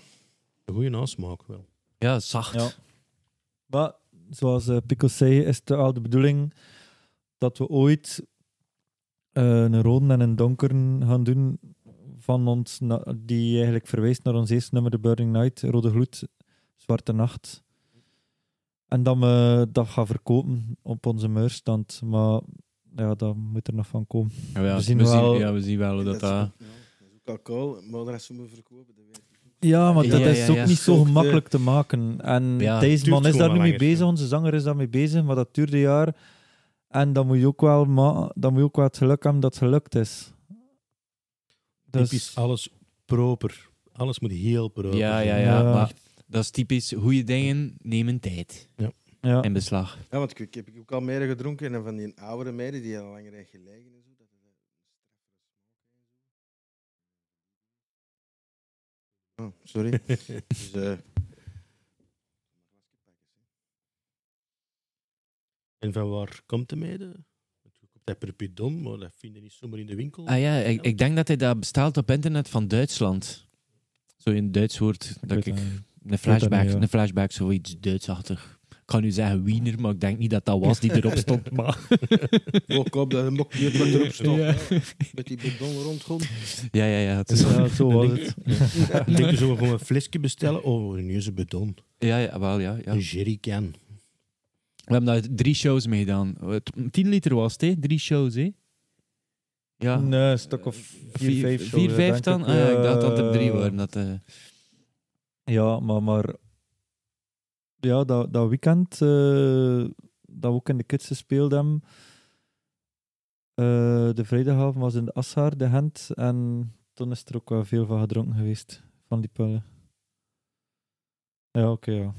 een goede nasmaak wel. ja zacht. Ja. Maar zoals eh Pico zei, is het wel de bedoeling dat we ooit eh, een rode en een donkeren gaan doen van ons, na- die eigenlijk verwijst naar ons eerste nummer, The Burning Night, Rode Gloed, Zwarte Nacht. En dat we dat gaan verkopen op onze muurstand. Maar ja, dat moet er nog van komen. Ja, ja, We zien wel- ja, we zien wel hoe dat... is- dat ja, dat is ook alcohol, maar dat is ze me verkopen. Dat weet ik. Ja, maar Ja, dat ja, is ja, ook ja. niet zo Ook de- gemakkelijk te maken. En Ja, deze duurt man is gewoon daar wat nu mee langer, bezig, ja. onze zanger is daar mee bezig, maar dat duurde een jaar. En dan moet je ook wel, ma- dan moet je ook wel het geluk hebben dat het gelukt is. Dus- Typisch alles proper. Alles moet heel proper ja, zijn. ja, ja. Ja. Maar dat is typisch. Goede dingen nemen tijd ja. in beslag. Ja, want ik, ik heb ook al meer gedronken en van die oudere meiden die al langer heeft gelegen en zo. Dat is, eh, oh, sorry. dus, eh, En van waar komt de mede? Op dat Perpignan, maar dat vind je niet zomaar in de winkel. Ah ja, ik, ik denk dat hij dat bestaalt op internet van Duitsland. Zo in Duits woord. Ik Dat weet ik, dat niet. een flashback, niet, ja. een flashback, zoiets Duitsachtig. Ik kan nu zeggen Wiener, maar ik denk niet dat dat was die erop stond. Maar oh, kom, dat een mok niet wat erop stond. Ja. Ja, met die bedon rondgaan. ja, ja, ja. Het is, Ja, zo was het. Ik denk, zullen we gewoon een flesje bestellen? Oh, een nieuwe bedon. ja, ja, wel, ja, ja. Een jerrycan. We hebben daar drie shows mee gedaan. Het- 10 liter was het, hè? Drie shows, hè? Ja. Nee, een stuk of vier, vijf. zo, vier, ja, vijf denk dan? ik. Ah, ja, ik dacht dat Eh, er drie waren. Dat, eh, Ja, maar, maar ja, dat, dat weekend eh, dat we ook in de kids gespeeld hebben, eh, de vrijdagavond was in de Ashaar, de Gent, en toen is er ook wel veel van gedronken geweest, van die pullen. Ja, oké, ja.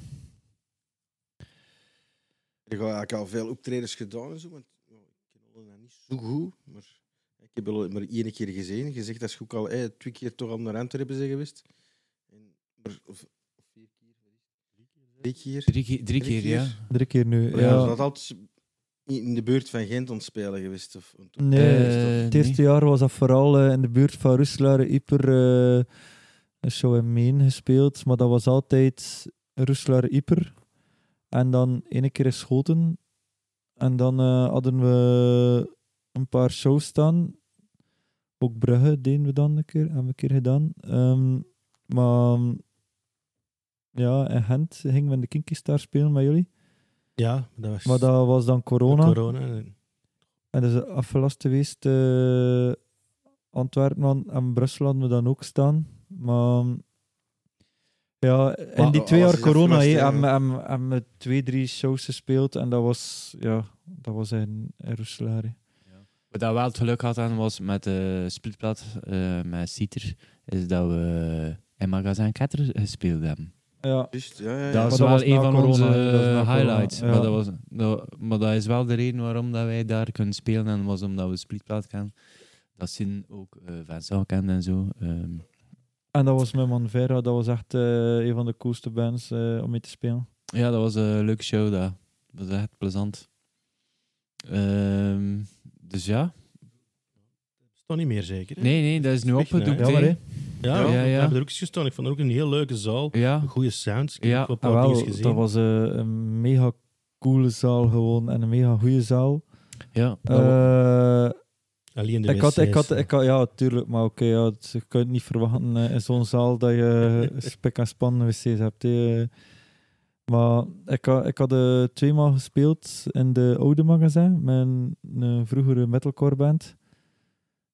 Ik heb eigenlijk al veel optredens gedaan en zo, want ja, ik ken Olle nou niet zo goed, maar ik heb Olle maar één keer gezien. Je zegt dat is ook al eh, twee keer toch al naar Antwerpen zijn geweest. En, maar, of, of vier keer, wat is het? drie keer. drie, ke- drie keer, ja. Drie keer nu. Maar ja. ja, ze had altijd in de buurt van Gent ontspelen geweest. Of, of- Nee, Eh, het eerste jaar was dat vooral eh, in de buurt van Roeselare, Yper, eh, een show in Meen gespeeld. Maar dat was altijd Roeselare, Yper. En dan ene keer in Schoten. En dan eh, hadden we een paar shows staan. Ook Brugge deden we dan een keer, hebben we een keer gedaan. Ehm, maar mm, ja, in Gent gingen we in de Kinky Star spelen met jullie. Ja, dat was Maar dat was dan corona. corona. En dat is afgelast geweest. eh, Antwerpen en- en Brussel hadden we dan ook staan. Maar mm, ja, in Maar die twee alles jaar is corona afgelast, hè, eh? hè. hebben we- hebben we- hebben we twee, drie shows gespeeld. En dat was, ja, dat was in, in Roeselare. Wat dat wel het geluk had aan was met de splitplaat eh, met Citer, is dat we in Magazijn Ketter gespeeld hebben. Ja, Juist, ja, ja, ja. dat maar is dat wel was na een van corona, onze hè, dat is na corona, highlights. ja. Maar, dat was, dat, maar dat is wel de reden waarom dat wij daar kunnen spelen en was omdat we splitplaat kennen. Dat zijn ook eh fans al kent en zo. ehm. en dat was met Manvera. Dat was echt eh, een van de coolste bands eh, om mee te spelen. ja, dat was een leuke show daar. Dat was echt plezant. Ehm, dus ja. Stond niet meer zeker. hè? Nee, nee, dat is nu Echt, opgedoekt. nee. hè. Jammer, hè? Ja, Ja, ja, ja. we hebben er ook eens gestaan. Ik vond het ook een heel leuke zaal. Ja, Goede sounds. Ik Ja, heb een Ah, paar dingen wel, gezien. dat was eh, een mega coole zaal gewoon. En een mega goede zaal. ja. Eh, Alleen de Ik had, ik wc's. had, ik had, ja, tuurlijk, maar oké, ja, het- je kunt niet verwachten eh, in zo'n zaal dat je spik en span wc's hebt. hè. Eh, Maar ik had, ik had eh, tweemaal gespeeld in de oude magazijn, mijn een vroegere metalcore band.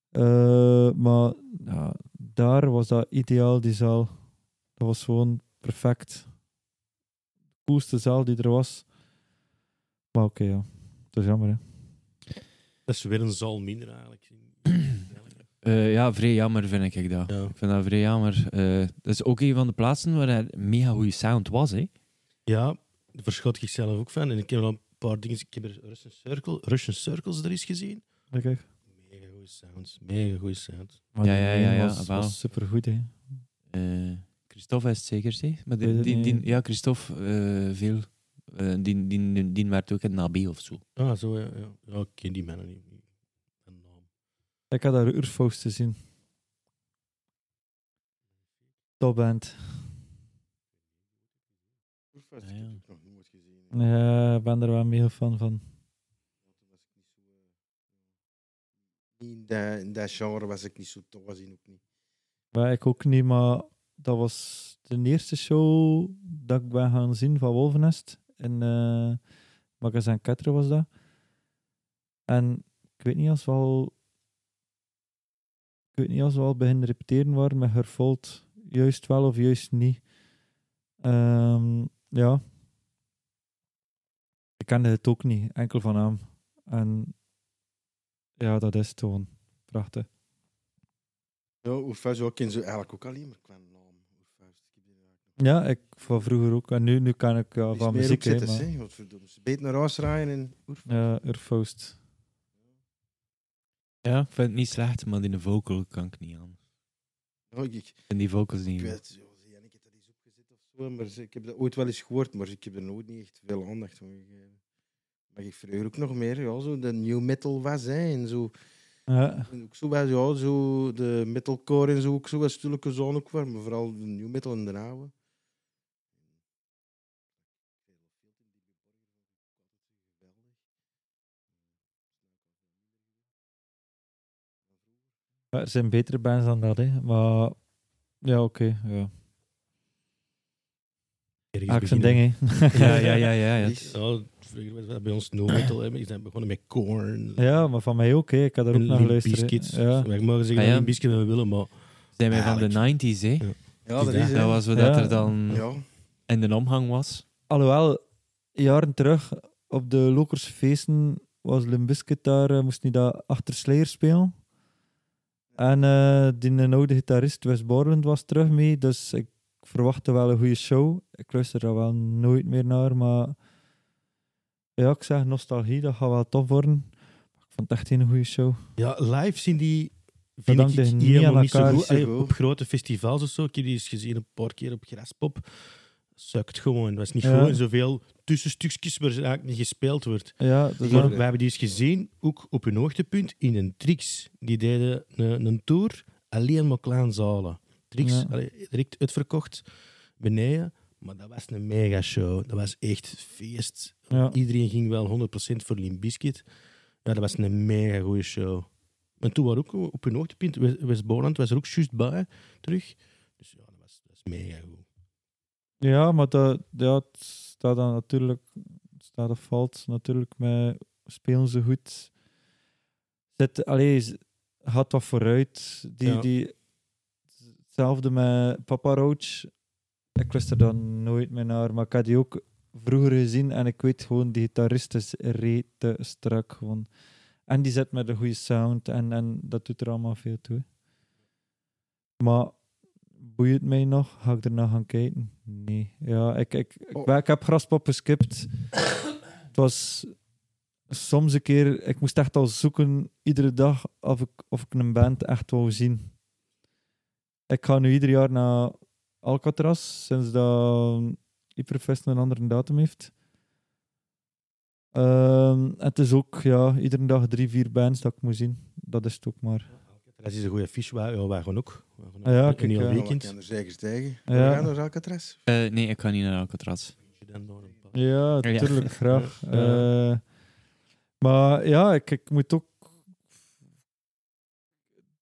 Eh, maar ja, daar was dat ideaal, die zaal. Dat was gewoon perfect. De coolste zaal die er was. Maar oké, ja. Dat is jammer, hè. Dat is weer een zaal minder eigenlijk. Eh, ja, vrij jammer vind ik dat. Ja. Ik vind dat vrij jammer. Eh, dat is ook een van de plaatsen waar er mega goede sound was. Hè. Ja, daar verschot ik zelf ook van. En ik heb al een paar dingen. Ik heb er Russian, Circle, Russian Circles er eens gezien. Ja, kijk. Mega goede sounds. Mega goede sounds. Maar Ja, die ja, ja, ja, was, wel. was supergoed, hè. Eh, Christophe is het zeker, hè? Maar Weet die, het die, niet. die- ja, Christophe, eh, veel. Eh, die, die, die, die werd ook in de AB of zo. Ah, zo ja. ja. ja ik ken die mannen niet. Een naam. Ah, Ik had daar Urfaust te zien. Topband. Oefens, Ah, ja. Ik heb het nog nooit gezien. Ja, ik ben er wel mega fan van. Niet In dat, in dat genre was ik niet zo tof, was ik ook niet. Maar ik ook niet, maar dat was de eerste show dat ik ben gaan zien van Wolvenest. In eh Magazijn Ketter was dat. En ik weet niet als we al... Ik weet niet als we al beginnen repeteren waren met Hervold. Juist wel of juist niet. Ehm, ja. Ik kende het ook niet, enkel van hem. En ja, dat is het gewoon prachtig. Ja, Oefens, ook ken ze eigenlijk ook alleen maar qua naam. Oefens, ik heb die eigenlijk nog Ja, ik van vroeger ook. En nu, nu kan ik eh, niet van meer muziek hè, opzetten, maar- hè. Wat verdomme. Ze beet naar huis rijden en Oefens. Ja, Urfaust. Ja, ik vind het niet slecht, maar die vocal kan ik niet aan. Ja, ik, ik Ik vind die vocals niet. ik weet, ja, zie, en ik heb dat eens opgezet of zo, maar ze- ik heb dat ooit wel eens gehoord, maar ik heb er nooit niet echt veel aandacht aan gegeven. Maar ik verheug ook nog meer, ja, zo de new metal was, hè, en zo. Ja, En ook zo bij ja, zo de metalcore en zo ook zo was zulke zo'n ook waar, maar vooral de new metal en de oude. er zijn betere bands dan dat, hè. Maar ja, oké. ja. Ergens Ah, ik zijn beginnen. ding, hè. Ja, ja, ja, ja. ja. Is- Ja, vroeger was dat bij ons no metal. hè. Die zijn begonnen met Korn. Ja, maar van mij ook, hè. Ik had er ook En naar Limp geluisterd. Bizkit. hè. Ja. Wij mogen zeggen Ah, ja. dat Limp Bizkit we willen, maar Zijn wij van de 90s, hè? Ja, dat Ja, is Dat hè. was wat dat Ja. er dan Ja, in de omgang was. Alhoewel, jaren terug, op de Lokersfeesten was Limbiscuit daar, eh, moest niet dat achter Slayer spelen. En eh, die een oude gitarist Wes Borland was terug mee, dus ik verwachtte wel een goede show. Ik luister er wel nooit meer naar, maar ja, ik zeg nostalgie, dat gaat wel tof worden. Maar Ik vond het echt geen goede show. ja, live zien die Dat vind ik hangt er niet helemaal aan niet zo elkaar. goed. Niet zo Allee, goed. Op grote festivals of zo. Ik heb die eens gezien een paar keer op Graspop. Sukt gewoon. Dat is niet Ja. gewoon zoveel tussenstukjes waar ze eigenlijk niet gespeeld wordt. Ja, dus Maar dan- we hebben die eens gezien, ook op hun hoogtepunt, in een Trix. Die deden een, een tour, alleen maar kleine zalen. Trix, Ja. allee, direct uitverkocht, beneden. Maar dat was een mega show. Dat was echt feest. ja. Iedereen ging wel 100% voor Limp Bizkit. Ja, dat was een mega goede show. En toen waren ook op hun hoogtepunt, Wes- Wes Borland was er ook juist bij, terug. Dus ja, dat was, dat is mega goed. Ja, maar dat, ja, het staat dan natuurlijk, het staat of valt natuurlijk met spelen ze goed. Zet, allee, z- gaat wat vooruit. Die, Ja. die, hetzelfde met Papa Roach. Ik wist er dan nooit meer naar, maar ik had die ook vroeger gezien en ik weet gewoon, die gitarist is rete strak. Gewoon. En die zet met een goede sound en, en dat doet er allemaal veel toe. hè. Maar boeit het mij nog? Ga ik ernaar gaan kijken? Nee. Ja, ik, ik, ik, Oh. wel, ik heb Graspop geskipt. het was soms een keer... Ik moest echt al zoeken, iedere dag, of ik, of ik een band echt wou zien. Ik ga nu ieder jaar naar Alcatraz, sinds dat Hyperfest een andere datum heeft. Ehm, het is ook, ja, iedere dag drie, vier bands dat ik moet zien. Dat is het ook maar. Dat is een goede fiche, wij, ja, wij gaan ook. Wij gaan ook. Ah ja, Een kijk, heel ja. Ja, wat weekend. kan er zeker tegen. We Ja. gaan naar Alcatraz. Eh, nee, ik kan niet naar Alcatraz. Dan door een paar- Ja, Ja. tuurlijk, graag. Ja. Eh, maar ja, ik, ik moet ook.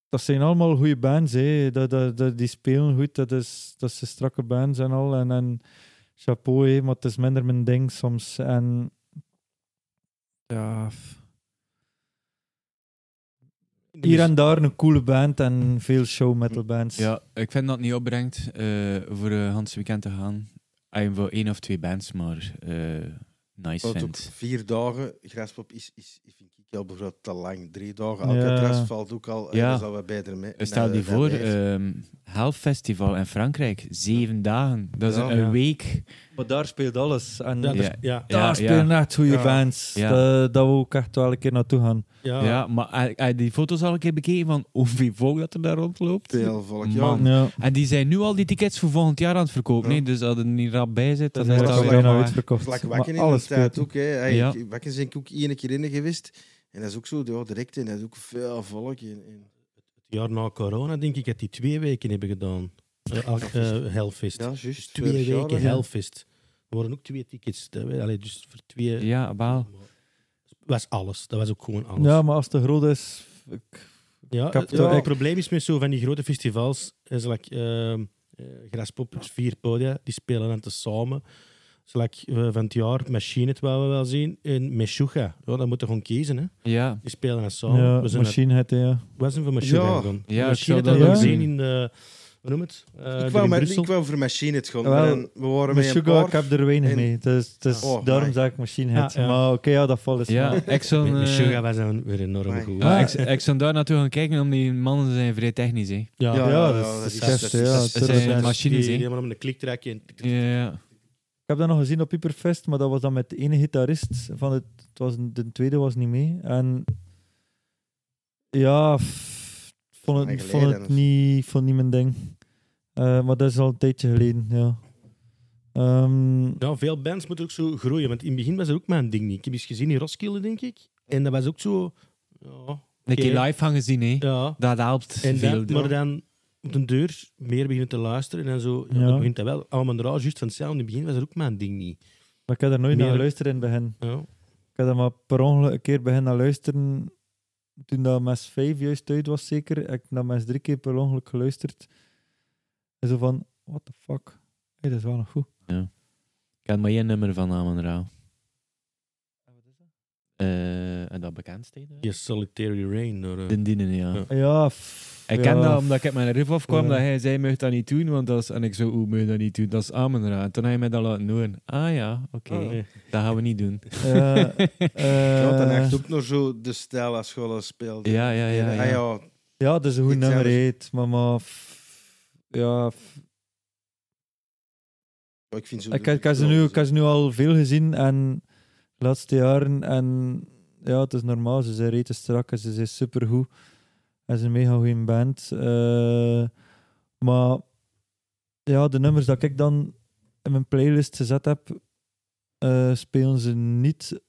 Dat zijn allemaal goede bands, hè. Dat, dat, dat, die spelen goed, dat is, dat zijn strakke bands en al. En, en chapeau, hè, maar het is minder mijn ding soms. En ja, f- hier en daar een coole band en veel show metal bands. Ja, ik vind dat het niet opbrengt eh, voor een Hans Weekend te gaan. Ik voor één of twee bands, maar eh, nice Wat ook vind. vier dagen graspop is, is, is vind ik ik al bijvoorbeeld te lang. Drie dagen. Ja. Alcatraz valt ook al. Ja. Ja. Dat is al wat beter mee. Eh, Stel die je voor, ehm Half Festival in Frankrijk, zeven dagen. Dat is Ja. een Ja. week. Maar daar speelt alles. En Ja, dat is- Ja. ja. daar Ja, spelen echt goede Ja. bands. Ja. Dat, dat we ook echt wel een keer naartoe gaan. ja. Ja, maar heb- heb je die foto's al een keer bekeken van hoeveel volk dat er daar rondloopt? Veel volk, ja. Man. Ja. En die zijn nu al die tickets voor volgend jaar aan het verkopen. Ja. Nee, dus als er niet rap bij zit, Dat dan is wel is dat al zo, weer bijna maar- uitverkocht. Vlak Maar wakken in de alles tijd speelt. ook. Hè. Hey, Ja. ik- Wakken zijn ik ook één keer in geweest. En dat is ook zo ja, direct. En dat is ook veel volk. En, en, Het jaar na corona denk ik dat die twee weken hebben gedaan. Eh, al- eh, Hellfest. ja, juist. Twee vorig jaar, weken hè. Hellfest. Er worden ook twee tickets. dat we- Allee, dus voor twee... Ja, baal. Maar het was alles. Dat was ook gewoon alles. Ja, maar als het te groot is... ik- Ja, Ik heb het, toch- het ik- probleem is met zo van die grote festivals, is like, ehm, eh, Graspop, dus vier podia, die spelen dan te samen. Zo like, eh, van het jaar Machine, het wouden we wel zien, en Meshuga. Ja, dat moeten we gewoon kiezen. Hè. Ja. Die spelen dan samen. Ja, we zijn naar- machine had ja. we zijn voor Meshuga Ja. gegaan. Ja, ik Machine zou hebben dat we ook gezien doen. in, de hoe noem het? Eh, Ik daar wou, in maar, Brussel. ik wou voor machine het gaan. Wel, en we waren Met met een Sugar, paar. ik heb er weinig en- mee. Dus, dus Oh, daarom my. zei ik Machine Head. Ja, ja. Maar oké, ja, dat valt is Ja, maar- ik zou, Met eh, Meshuga was dan weer enorm Amai. goed. ja, ik, Ah. ik zou daar naartoe gaan kijken, om die mannen zijn vrij technisch, hè. Ja, Ja, ja, ja, dat is- ja, dat is dat is- best, dat is- ja, dat is- tuurlijk, zijn ja. machines, die, hè. die helemaal om een klik trekken. en tik, tik, tik. Ja. Ik heb dat nog gezien op Hyperfest, maar dat was dan met de ene gitarist. Van het, het was, een- de tweede was niet mee. En ja, f- ik vond het, Lang ik vond geleden, het dus. niet, ik vond het niet mijn ding. Eh, maar dat is al een tijdje geleden, ja. Ehm, Ja, veel bands moeten ook zo groeien. Want in het begin was dat ook mijn ding niet. Ik heb eens gezien in Roskilde, denk ik. En dat was ook zo... Ja, Een keer Oké. live gaan gezien, hè. ja. Dat helpt En veel. dan, maar dan op de deur meer beginnen te luisteren. En dan zo, ja, Ja. dan begint dat wel. Allemaal raar, juist van hetzelfde. In het begin was dat ook mijn ding niet. maar ik heb er nooit Meer- naar geluisterd in het begin. Ja. Ik had er maar per ongeluk een keer beginnen naar luisteren. Toen dat mes 5 juist uit was, zeker. Heb ik naar mes 3 keer per ongeluk geluisterd. En zo van, what the fuck. Hey, dat is wel nog goed. Ik had maar één nummer van Amon Rao. Eh, en dat bekend steden? Je Solitary Rain. Door, eh, De dienen, ja. Ja. Ja, f- Ik ja, ken dat f- omdat ik op mijn riff afkwam Ja. dat hij zei, mag dat niet doen, want dat is... En ik zo, hoe mag je dat niet doen? Dat is Amon Ra. En toen heb je mij dat laten horen. Ah ja, oké. Ah, eh, Dat gaan we niet doen. Ja, eh, Ja, dan echt ook nog zo de stijl als scholen speelde. Ja, ja, ja. Ah, ja. ja. ja, dat is een goed Iets nummer, anders. heet. Maar, maar f- ja, f- Maar Ik vind zo ik, ik, heb ze nu, ik heb ze nu al veel gezien en de laatste jaren. En ja, het is normaal. Ze zijn reten strak en ze zijn supergoed. En ze zijn een mega goede band. Eh, maar ja, de nummers dat ik dan in mijn playlist gezet heb, eh, spelen ze niet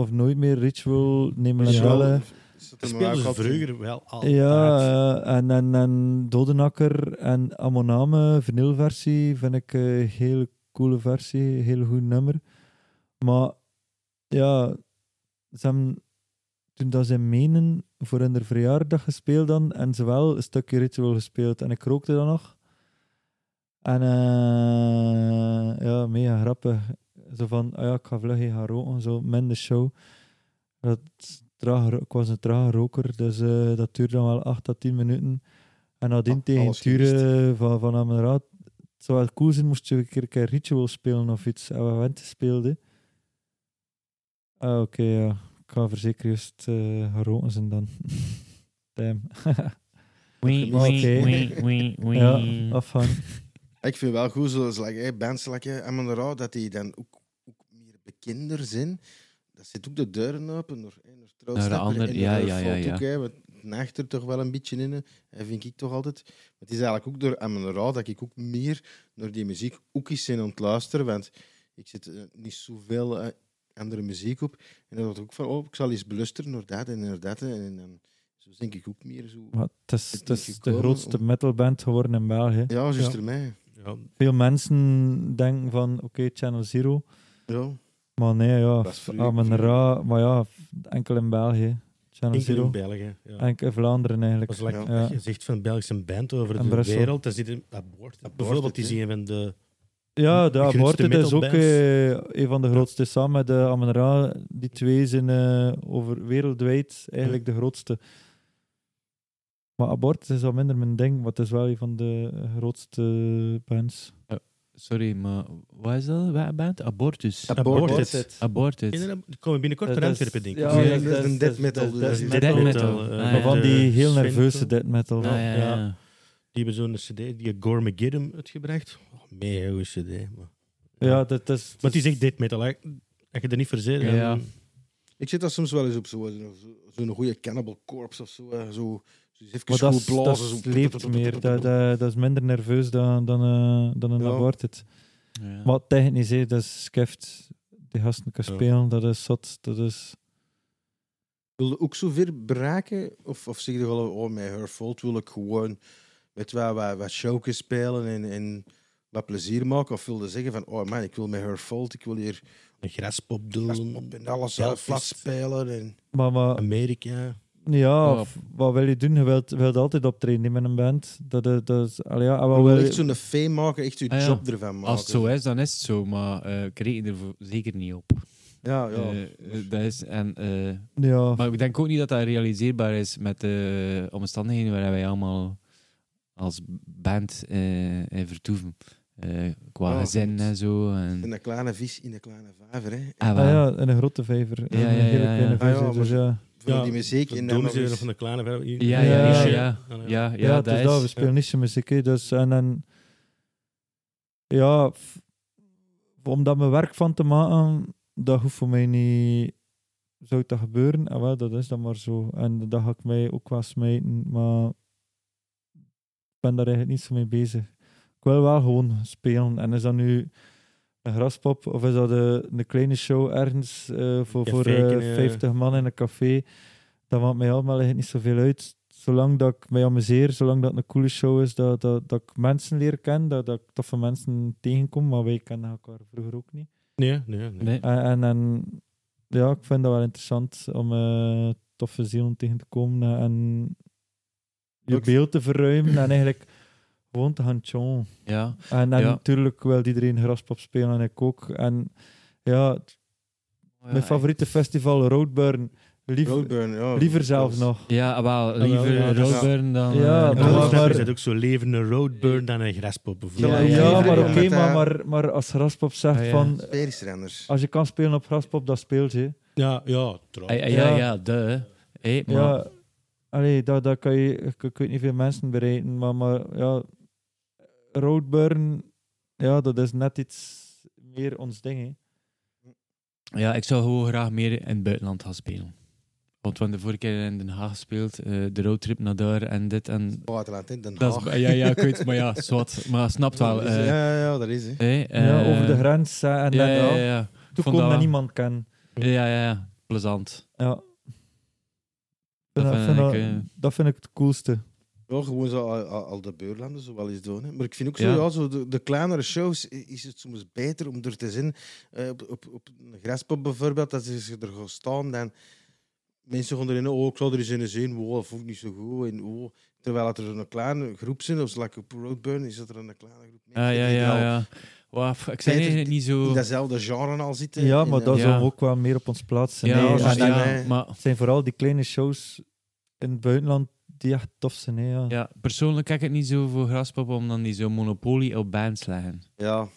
of nooit meer. Ritual nemen Ja. ze wel. eh. dat speelden ze vroeger wel al. Ja, eh, en, en, en Dodenakker en Amoname, vinylversie, vind ik eh, een hele coole versie, een heel goed nummer. Maar ja, ze hebben toen dat ze in Menen voor hun verjaardag gespeeld dan, en ze wel een stukje ritual gespeeld. En ik rookte dan nog. En eh, ja, mega grappig. Zo van, ah ja, ik ga vlug heen gaan roken, zo, min de show. Dat, traag, ro- ik was een trage roker, dus eh, dat duurde dan wel 8 à 10 minuten. En nadien Ah, tegen alles het uren van, van aan mijn raad, het zou wel cool zijn moest je een keer, een keer ritual spelen of iets. En we went speelden. Ah, oké, ja. Ik ga verzekeren juist eh, gaan roken zijn dan. Damn. Wee, Oké. wee, wee, wee, wee. ja, afgaan. Ik vind wel goed, zoals like, hey, bands like Amon Ra, dat die dan ook, ook meer bekender zijn. Dat zit ook de deuren open door hey, naar Trouwstapper Naar de ander- en ja, naar ja, ja, Volt ja. Ook, hey, want het neigt er toch wel een beetje in, hè. dat vind ik toch altijd. Maar het is eigenlijk ook door Amon Ra dat ik ook meer naar die muziek ook eens ben aan het luisteren, want ik zit eh, niet zoveel eh, andere muziek op. En dan dacht ik ook van, oh, ik zal eens beluisteren naar dat en naar dat. En, en dan zo denk ik ook meer zo... Maar het is, het is de gekomen grootste om- metalband geworden in België. Ja, Ja. juist ermee. Ja, Veel mensen denken van, oké, Channel Zero. Ja. Maar nee, ja, Dat is vroeger- Amen Ra. Maar ja, enkel in België. enkel Channel in Zero. Ah, België. Ja. Enkel in Vlaanderen eigenlijk. Als like, Ja. dat je zegt van Belgische band over En de Brussel. wereld, dan zit een abort. Bijvoorbeeld, die hè. zien van de... Ja, de de Aborted grootste is ook metalbands. eh, een van de grootste. Samen met de Amen Ra. Die twee zijn eh, over, wereldwijd eigenlijk de grootste. Maar Aborted is al minder mijn ding, maar het is wel een van de grootste eh, bands. Sorry, maar wat is dat? Wat band? Abortus. Aborted. Abortus. Inderdaad, er komen binnenkort Eh, Dat de is- Antwerpen, denk ik. ja, Nee, dat dat is een dat death metal, dat is dus. death Death metal. eh, metal. Ah, ja. Maar met, van eh, die heel Sven nerveuze Tom. death metal. Ah, ja, ja, Ja. ja. Die hebben zo'n CD, die Gormageddon uitgebracht. Oh, mega goede CD. Maar, Ja, dat is... maar het is echt dit metal. hè. Als je er niet voor zit, dan- Ja. Ik zit daar soms wel eens op zo'n zo, zo'n goede Cannibal Corpse of zo. eh, zo dus even Maar dat, goed is- dat blazen. zo. sleept meer. Dat, dat, dat is minder nerveus dan, dan, eh, dan een Ja. aborted. Ja. Maar technisch, hè, dat is skeft. Die gasten kan Ja. spelen, dat is zot. Dat is... Wil je ook zover braken? Of, of zeg je wel, oh, met Her Fault wil ik gewoon met wat, wat, wat showjes spelen en, en wat plezier maken? Of wil je zeggen van, oh man, ik wil met Her Fault, ik wil hier een graspop doen. op en alles Mm. Ja, zelf flat juist. spelen. En... Maar, maar Amerika. Ja, Ja. of wat wil je doen? Je wilt, wilt altijd optreden hè, met een band. Dat, dat, dat is, allee, ja, en wat Maar wil wil je je- echt zo'n fame maken, echt je Ah, ja. job ervan maken? Als het zo is, dan is het zo, maar eh, ik reken er voor- zeker niet op. Ja, ja. Eh, eh, dat is, en, eh, ja, Ah, maar ik denk ook niet dat dat realiseerbaar is met de omstandigheden waar wij allemaal als band eh, in vertoeven. Eh, qua Ja, gezin goed. en zo. En, In een kleine vis, in een kleine vijver. Hè. Ah, wel. ah, ja, in een grote vijver. Ja, in een ja, hele ja, ja. kleine Ah, ja, vijver, dus maar- ja. Voor die muziek. En dan Dom nog is hier nog eens... van de kleine. Ja, ja, ja, Ja. ja. Ah, Ja, Ja, ja, het dat is dat, we is. spelen niet zo muziek. hè, Dus, en, en, ja, f- om daar mijn werk van te maken, dat hoeft voor mij niet... Zou dat gebeuren? Ah, wel, dat is dan maar zo. En dat ga ik mij ook wel smijten, maar ik ben daar eigenlijk niet zo mee bezig. Ik wil wel gewoon spelen. En is dat nu een graspop of is dat een, een kleine show ergens eh, voor, voor eh, Caféken, eh. 50 man in een café? Dat maakt mij allemaal eigenlijk niet zoveel uit. Zolang dat ik mij amuseer, zolang dat het een coole show is, dat, dat, dat ik mensen leer kennen, dat, dat ik toffe mensen tegenkom, maar wij kennen elkaar vroeger ook niet. Nee, nee, nee. Nee. En, Eh, en, en ja, ik vind dat wel interessant om eh, toffe zielen tegen te komen en- en je Ook- beeld te verruimen en eigenlijk gewoon te gaan chon. Ja. En, en Ja. natuurlijk wil iedereen graspop spelen en ik ook. En ja, t- mijn favoriete festival, Roadburn. Lief- Roadburn, ja. liever zelf nog. Ja, ah, wel, wel, liever ja, dat is- Roadburn dan... dus- Ja, eh, Maar maar- dat maar- is ook zo levende roadburn dan een graspop. Ja, bijvoorbeeld. Ja, ja, ja, ja, maar ja. oké, Met, eh, maar, maar, maar als graspop zegt Ah, ja. van... Sfeer is er anders. Als je kan spelen op graspop, dan speel je. Ja, ja, trouwens. Ah, ah, ja, Ja. ja, de. Hey, maar, Ja, allee, daar, daar kan je, je kunt- kunt niet veel mensen bereiken, maar, maar ja, Roadburn, ja, dat is net iets meer ons ding. Hè. ja, ik zou gewoon graag meer in het buitenland gaan spelen. Want we hebben de vorige keer in Den Haag gespeeld, eh, de roadtrip naar daar en dit en... Buitenland, hè. Den Dat Haag. is, ja, ja, ik weet het, maar ja, zwart. Maar snapt wel. Dat is- eh, ja, ja, dat is hè. hey, ja, eh, over de grens hè, en Ja, dan ja, ja. vond toe komen dat- dat niemand kan. Ja, ja, ja. Plezant. Ja. Dat Ik vind Dat, vind vind ik, dat- eh, dat vind ik het coolste. Ja, gewoon zo al, al, al de buurlanden zo wel eens doen. Hè. Maar ik vind ook zo, Ja. ja. zo de, de kleinere shows i- is het soms beter om er te zijn. Eh, op, op, op een graspop bijvoorbeeld, dat ze er gaan staan, dan mensen gaan erin, oh, ik zou er eens in zien, wow, dat vond ik niet zo goed. En, oh. Terwijl dat er een kleine groep zijn, of like op Roadburn is dat er een kleine groep mensen Ah, Ja, ja, die er ja. al ja. Wauw, ik ben Peter, eigenlijk niet zo... in datzelfde genre al zitten. Ja, En, maar eh, dat ja. zou ook wel meer op ons plaats zijn. Ja, hè. dat ja, is- En- en ja, eh, maar het zijn vooral die kleine shows in het buitenland die echt tof zijn. Hè, ja. ja, persoonlijk kijk ik het niet zo voor graspop, omdat die zo'n monopolie op bands leggen. Ja,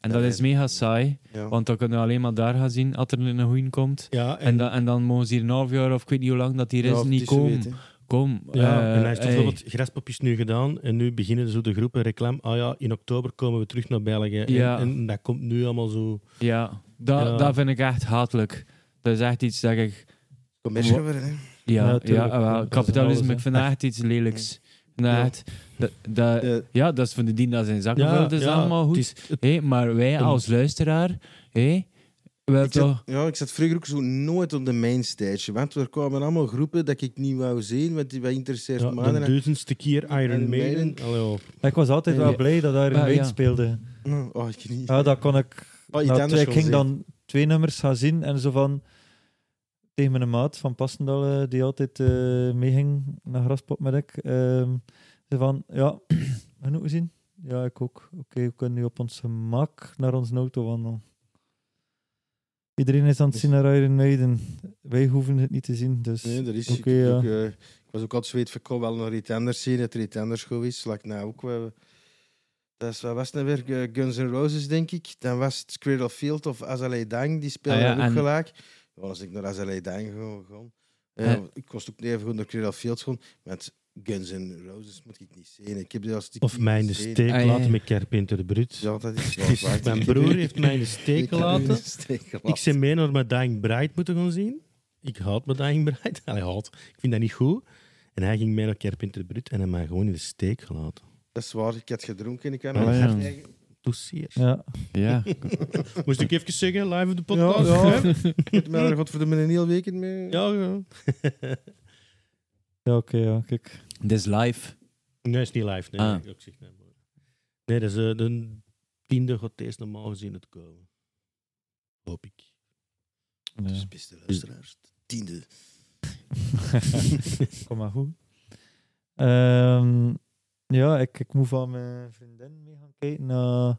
En Ja, dat is mega saai, ja. want dan kunnen we alleen maar daar gaan zien als er een goeie komt. Ja, en, En, dan en dan mogen ze hier een half jaar of ik weet niet hoe lang dat hier Ja, is, het niet zo komen. weet, hè. Kom. ja, eh, en hij heeft hey. bijvoorbeeld graspopjes nu gedaan en nu beginnen zo de groepen reclame. Ah ja, in oktober komen we terug naar België. En- Ja. En, dat komt nu allemaal zo. Ja, dat, Ja. dat vind ik echt hatelijk. Dat is echt iets dat ik... Commercial weer, hè. Ja, Ja, ja, tuurlijk. ah, wel, Dat is kapitalisme, alles, ik vind dat echt iets lelijks. Ik vind dat Ja. echt- dat, dat, De- ja, dat is van de dien dat zijn zakken vult, dat is allemaal goed. het is- het- Hé, maar wij als luisteraar, hé, wel Ik zat, toch... ja, ik zat vroeger ook zo nooit op de mainstage. Want er kwamen allemaal groepen dat ik niet wou zien, want die wat interesseert ja, me. de duizendste keer Iron Maiden. Iron Maiden. Allee, oh. ja. Ik was altijd wel Ja. blij dat daar een Ah, band ja. speelde. en- Oh, ik niet. Ja, dat kon ik Oh, iets Nou, anders twee- ik wil ging zien. dan twee nummers gaan zien en zo van tegen mijn maat van Passendal, eh, die altijd eh meeging naar Graspop met ik. ehm, zei van, ja, genoeg gezien? Ja, ik ook. Oké, we kunnen nu op ons gemak naar onze auto wandelen. Iedereen is aan het zien naar Iron Maiden. Wij hoeven het niet te zien, dus... Dus- Nee, dat is. Oké, ik, ja. ik, eh, ik was ook altijd zweet van ik kon wel naar iets anders zien, dat er iets anders goed is. Like, nou, ook wel. Dat is, wat was het nou weer? Gu- Guns N' Roses, denk ik. Dan was het Cradle of Field of Azalea Dang. Die speelde Ah ja, ook en- gelijk. Ja, als ik naar Azalea Dang gewoon... gewoon. Eh, Ja. Ik was ook niet even goed naar Cradle of Field gewoon. Met Guns N' Roses moet ik niet zien. Ik heb die als Of mij de steek Ah, ja. laten met Carpenter de Brut. Ja, dat is Het is- wel waar. mijn Ik heb broer u- heeft mij in de steek ik heb u in de gelaten. steek Ik gelaten. ben mee naar mijn Dying Bride moeten gaan zien. Ik haat mijn Dying Bride. Allee, haat. Ik vind dat niet goed. En hij ging mee naar Carpenter de Brut en hij had mij gewoon in de steek gelaten. Dat is waar, ik had gedronken. Ik had Ah, ja. Dossier. Ja. Ja. Moest ik even zeggen, live op de podcast. Oh, Ja, hè? Ik heb er godverdomme een heel weekend mee. Oh, ja. ja. Ja, oké, ja, kijk. Dit is live. Nee, is niet live. Nee, Ah. nee, ik zeg, nee, maar- nee dat is eh, de tiende gaat eerst normaal gezien het komen. Hoop ik. Dus Ja. beste luisteraars, de tiende. Kom maar goed. Ehm, ja, ik, ik moet van mijn vriendin mee gaan kijken naar...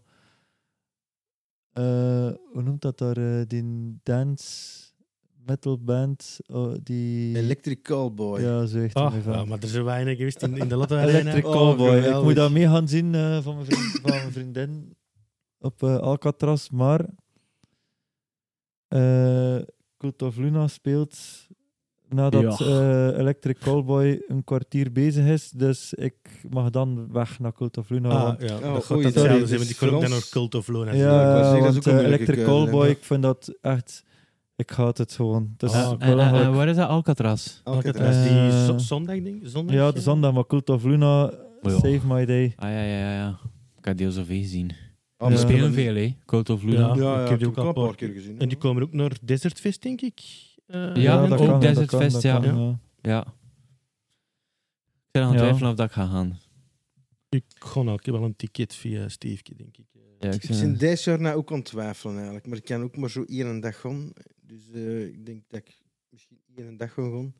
eh, hoe noemt dat daar? eh, die dance metal band oh, die... Electric Cowboy. Ja, zo echt. Ah, mee van. ja, maar er zijn weinig geweest in, in de Latte Arena. Electric Oh, Cowboy. ik geweldig. moet dat mee gaan zien eh, van, mijn vriend- van mijn vriendin op eh, Alcatraz. Maar eh Cult of Luna speelt nadat Ja. eh, Electric Cowboy een kwartier bezig is. Dus ik mag dan weg naar Cult of Luna. Ah, want- ja, dat Oh, gaat oei, dat sorry, hetzelfde zijn, dus want ik kon ook voor dan nog ons- Cult of Lona zien. ik wou ja, zeggen, dat is want ook een eh, moeilijke Electric keuze, Cowboy, hè. ik vind dat echt... Ik haat het gewoon. Dus Ah, ik oké. En- wil en- eigenlijk- en waar is dat Alcatraz? Alcatraz, Eh, die zo- zondag, ding? Zondag? ja, de eh? zondag, maar Cult of Luna, ja. save my day. Ah ja, ja, ja. ja. Ik had die al zoveel gezien. Ah, Ja. We maar spelen dan- veel, hè? Cult of Ja. Luna. Ja, ja, ik heb die heb ook ik al al een paar paar keer gezien. En die komen ook naar Desert Fest, denk ik. Eh, Ja, en dat ook. kan. hè, Desert Fest, ja. Ja. Ja. Ik ben aan het Ja. twijfelen of dat ik ga gaan. Ik kon ook, ik heb wel een ticket via Steefje, denk ik. Ja, ik Ik ben deze jaar nou ook aan het twijfelen eigenlijk, maar ik kan ook maar zo één een dag gaan. Dus eh, ik denk dat ik misschien één een dag ga gaan.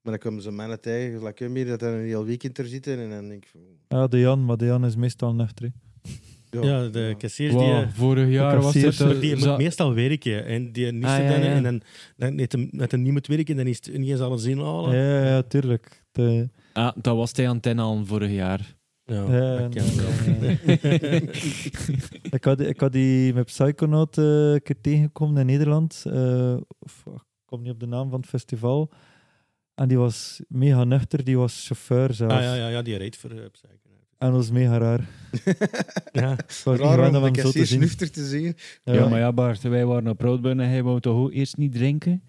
Maar dan komen ze mannen tegen, gelijk hem hier, dat er een heel weekend er zitten. En dan denk ik van... Ja, Ah, de Jan, maar de Jan is meestal nuchter. hè. Ja, de kassiers die... eh, Wow, vorig jaar was kassiers, het... Maar eh, die za- moet meestal werken en die niet Ah, zitten ja, ja. en dan, dan heeft hem, dat hem niet moet werken, dan is het niet eens alles inhalen. Ja, Ja, ja, tuurlijk. De, Ah, dat was die antenne al vorig jaar. Oh, ja, dat en, kan wel. eh, ik, had, ik had die met Psychonaut eh, een keer tegengekomen in Nederland. eh, of, ik kom niet op de naam van het festival. En die was mega nuchter, die was chauffeur zelf. Ah, ja, ja, ja, die reed voor eh, Psychonaut. En dat was mega raar. Ja, Ik was niet Raar gewend om om de hem zo te kassiers zien. nuchter te zien. Ja. maar ja, Bart, wij waren op Roodburn en hij wou toch ook eerst niet drinken?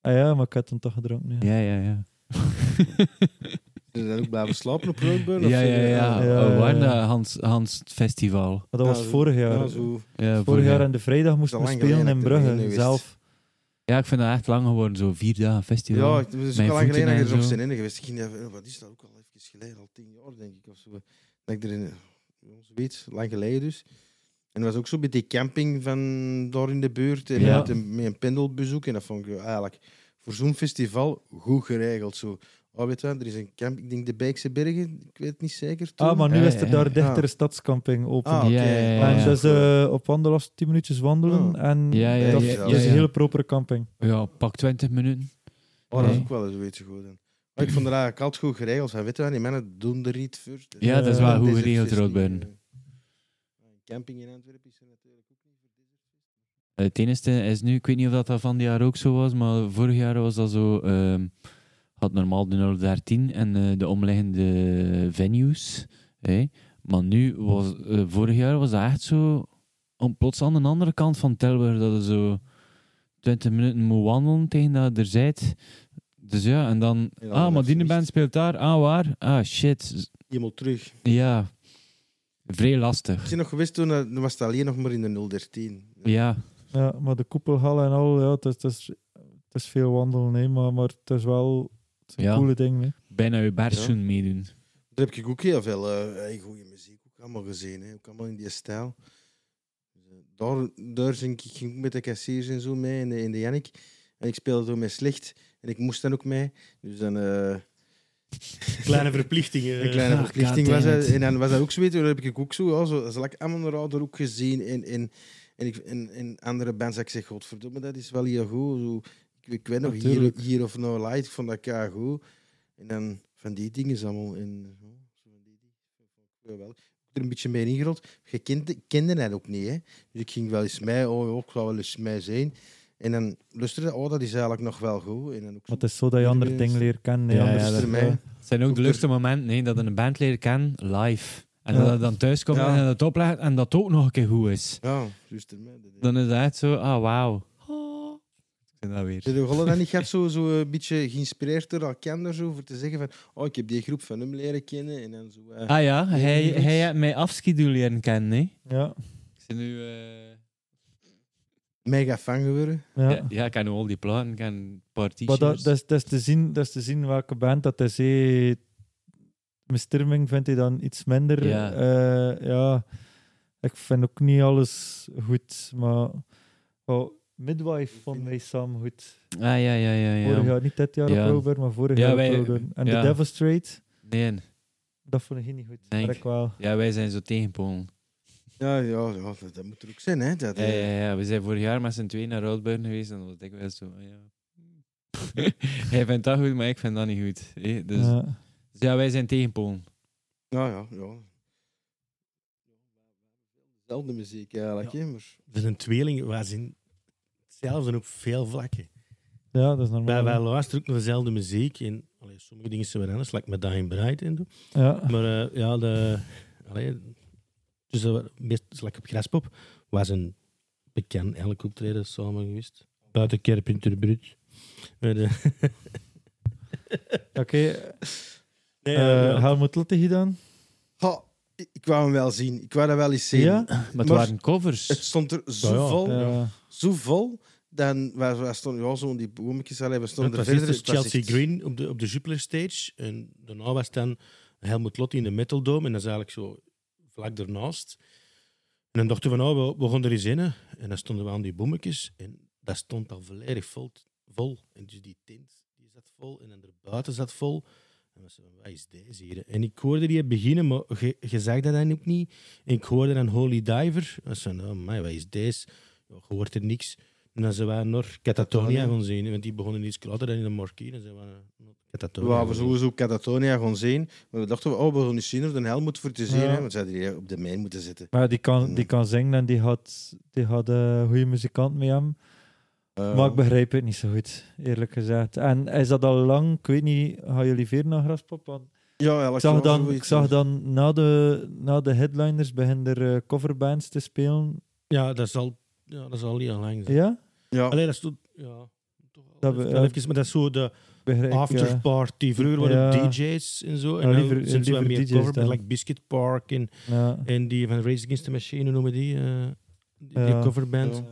Ah, ja, maar ik had hem toch gedronken. Ja. Ja, ja, ja. Ze zijn ook blijven slapen op Roadburn. of ja, ja, zo, ja. Ja, Oh, ja, waar ja. dat Hans, Hans het Festival? Maar dat was Ja, zo- vorig jaar. Ja, zo. Ja, Vorig jaar en de vrijdag moesten Dat we is lang spelen in geleden dat ik er Brugge, niet geweest. zelf. Ja, ik vind dat echt lang geworden, zo vier dagen festival. Ja, ik- het is ook Mijn al lang voeten geleden dat en ik er op zo. zijn in geweest. Ik ging even, wat is dat ook al even geleden, al tien jaar denk ik of zo. Dat ik erin, zoiets, lang geleden dus. En dat was ook zo bij die camping van daar in de buurt. En Ja. met, een, met een pendelbezoek. En dat vond ik eigenlijk voor zo'n festival goed geregeld. Zo. Oh, weet je, wat, er is een camp, ik denk de Bijkse Bergen, ik weet het niet zeker. toen. Ah, maar nu Ja, is ja, er daar ja. dichter Ah. een stadskamping open. Ah, oké. Ja, ja, ja, En ja. dus eh, op wandelafstand 10 minuutjes wandelen. Ja. En Ja, ja, dat ja, dat Oh. ja, is een ja. hele propere camping. Ja, pak 20 minuten. Oh, dat is Nee. ook wel zoiets goed. dan. Maar ik vond het eigenlijk altijd goed geregeld. Van, weet je, wat, die mannen doen er niet voor. Ja, dat is wel Eh, goed deze geregeld, festie, Roodburn. eh, Camping in Antwerpen is er natuurlijk ook niet voor deze Eh, Het enige is nu, ik weet niet of dat, dat van die jaar ook zo was, maar vorig jaar was dat zo. ehm, had normaal de 013 en eh, de omliggende venues. hè. Maar nu was, eh, vorig jaar was dat echt zo. Om, plots aan de andere kant van Tilburg, dat je zo 20 minuten moet wandelen tegen dat je er zijt. Dus ja, en dan. Ja, ah, dat maar die verliest. band speelt daar. Ah, waar? Ah, shit. Iemand terug. Ja. Vrij lastig. Ik ben nog geweest toen, eh, toen was het alleen nog maar in de 013. Ja. Ja, maar de koepelhal en al, ja, het is, het is, het is veel wandelen, hè, maar, maar het is wel het is een Ja. coole ding. Hè. Bijna je berzoen meedoen. Daar heb ik ook heel veel eh goede muziek ook allemaal gezien. Hè. Ook allemaal in die stijl. Dus, eh, daar, daar zing ik, ik ging ook met de kassiers en zo mee, in de, in de Jannik. En ik speelde toen met slecht. En ik moest dan ook mee. Dus dan... eh, Kleine verplichtingen. Een kleine Ah, verplichting God was damn dat. it. En dan was dat ook zoiets, dat heb ik ook zo, ja, zo zal ik Amon ook gezien. En, en, en, ik, en, en andere bands, dat ik zeg, godverdomme, dat is wel heel goed. Zo, ik, ik weet nog, hier, Natuurlijk. hier of No Light, ik vond dat kei goed. En dan van die dingen allemaal. En, ja, zo van die dingen. Ik weet wel. er een beetje mee ingerold. Je kende, kende hij ook niet. Hè? Dus ik ging wel eens mee, oh, ja, ik ga wel eens mee zijn. En dan luisterde oh, dat is eigenlijk nog wel goed. En dan ook zo- Want het is zo dat je andere dingen leert kennen. hè, Ja, ja, anders, dat- eh, mij. Het zijn ook de Super. leukste momenten, hè, dat je een band leren kennen, live. En Ja. dat je dan thuis komt Ja. en dat oplegt en dat ook nog een keer goed is. Ja, luister mij. Dat- Dan is dat echt zo, ah, wauw. Oh. Ik vind dat Zijn weer. de Gollen dan niet gaat zo, zo een beetje geïnspireerd door elkaar zo, voor te zeggen van oh, ik heb die groep van hem leren kennen en dan zo. eh, Ah ja, hij, Iets. hij heeft mij afskidoe leren kennen, hè. Ja, Ik zit nu... eh, Mega fan geworden. ja. Ja, ja, ik ken al die platen, ik ken een paar Maar t-shirts. dat, dat, is, dat, is te zien, dat is te zien welke band dat is. hè. Misterming vindt hij dan iets minder. Ja. Eh, ja. Ik vind ook niet alles goed, maar... Oh, Midwife vond mij samen goed. Ah, ja, ja, ja. ja. Vorig jaar, niet dit jaar Ja. op Robert, maar vorig Ja, jaar wij- op Robert. En ja. The Devil Straight, Nee, dat vond ik niet goed. Denk. Maar ik wel. ja, wij zijn zo tegenpolen. Ja, ja, ja dat, dat moet er ook zijn, hè? Dat, Ja, eh, ja, ja. We zijn vorig jaar met z'n tweeën naar Roodburn geweest en dat was dikwijls zo, ah, ja. Hij vindt dat goed, maar ik vind dat niet goed. hè. Dus, Ja. dus ja, wij zijn tegenpolen. Ja, ja, ja. Dezelfde muziek eigenlijk, hè? Maar... We zijn tweelingen, wij zijn hetzelfde op veel vlakken. ja, dat is normaal. Wij, wij luisteren ook naar dezelfde muziek. En, allee, sommige dingen zijn weer anders, like met Dying Bride en doen. Ja. Maar eh, ja, de, allee, dus dat we- meest like op Graspop was een bekend elk optreden samen geweest. Buiten Kerpinter Brut. Maar, eh, Oké, nee, eh, ja, ja. Helmut Lotte hier dan? Ha, ik ik wou hem wel zien. Ik wou dat wel eens zien. Ja? Maar het Maar- waren covers. Het stond er zo Ja, ja. vol. Ja. Zo vol. Dan wij, wij stonden ja, zo in die boomjes. allee, We stonden Dat was er verder. eerst Het was dus Chelsea echt- Green op de, op de Jupiler Stage. En daarna was dan Helmut Lotti in de Metal Dome. En dat is eigenlijk zo vlak daarnaast. En dan dachten we, nou, we, we gaan er eens in. hè. En dan stonden we aan die boemetjes. En dat stond al volledig vol. vol. En dus die tent die zat vol. En dan erbuiten zat vol. En we zeiden, wat is deze hier? En ik hoorde die beginnen, maar je, je zag dat dan ook niet. En ik hoorde dan Holy Diver. En ze zeiden, oh my, wat is deze? Ja, je hoort er niks. En dan zijn we naar Catatonia gaan zien. Want die begonnen iets later dan in de marquee. En zijn we naar Catatonia. Ja, we gaan sowieso Catatonia gaan zien. Maar we dachten, oh, we gaan eens zien of de Helmut voor te zien. Ja. Hè, want zij hadden die op de mijn moeten zitten. Maar die kan, die kan zingen en die had, die had een goede muzikant mee hem. Eh, Maar ik begrijp het niet zo goed, eerlijk gezegd. En is dat al lang? Ik weet niet, gaan jullie weer naar Graspop? Want ja, elk ik zag jaar dan, ik zoiets. zag dan na, de, na de headliners beginnen er eh, coverbands te spelen. Ja, dat is al, ja, dat is al heel lang. zijn. Ja? Ja. Allee, dat is toch... Ja, toch al Dat even- we- al even, maar dat is zo de Begrijp, ik, ja. afterparty. Vroeger waren Ja. het DJ's en zo. En Ja, nu liever- zijn ze wat liever meer DJ's cover, met dan. like Biscuit Park en, Ja. en die van Rage Against the Machine, hoe noemen die? eh, die, Ja. die coverband. Ja.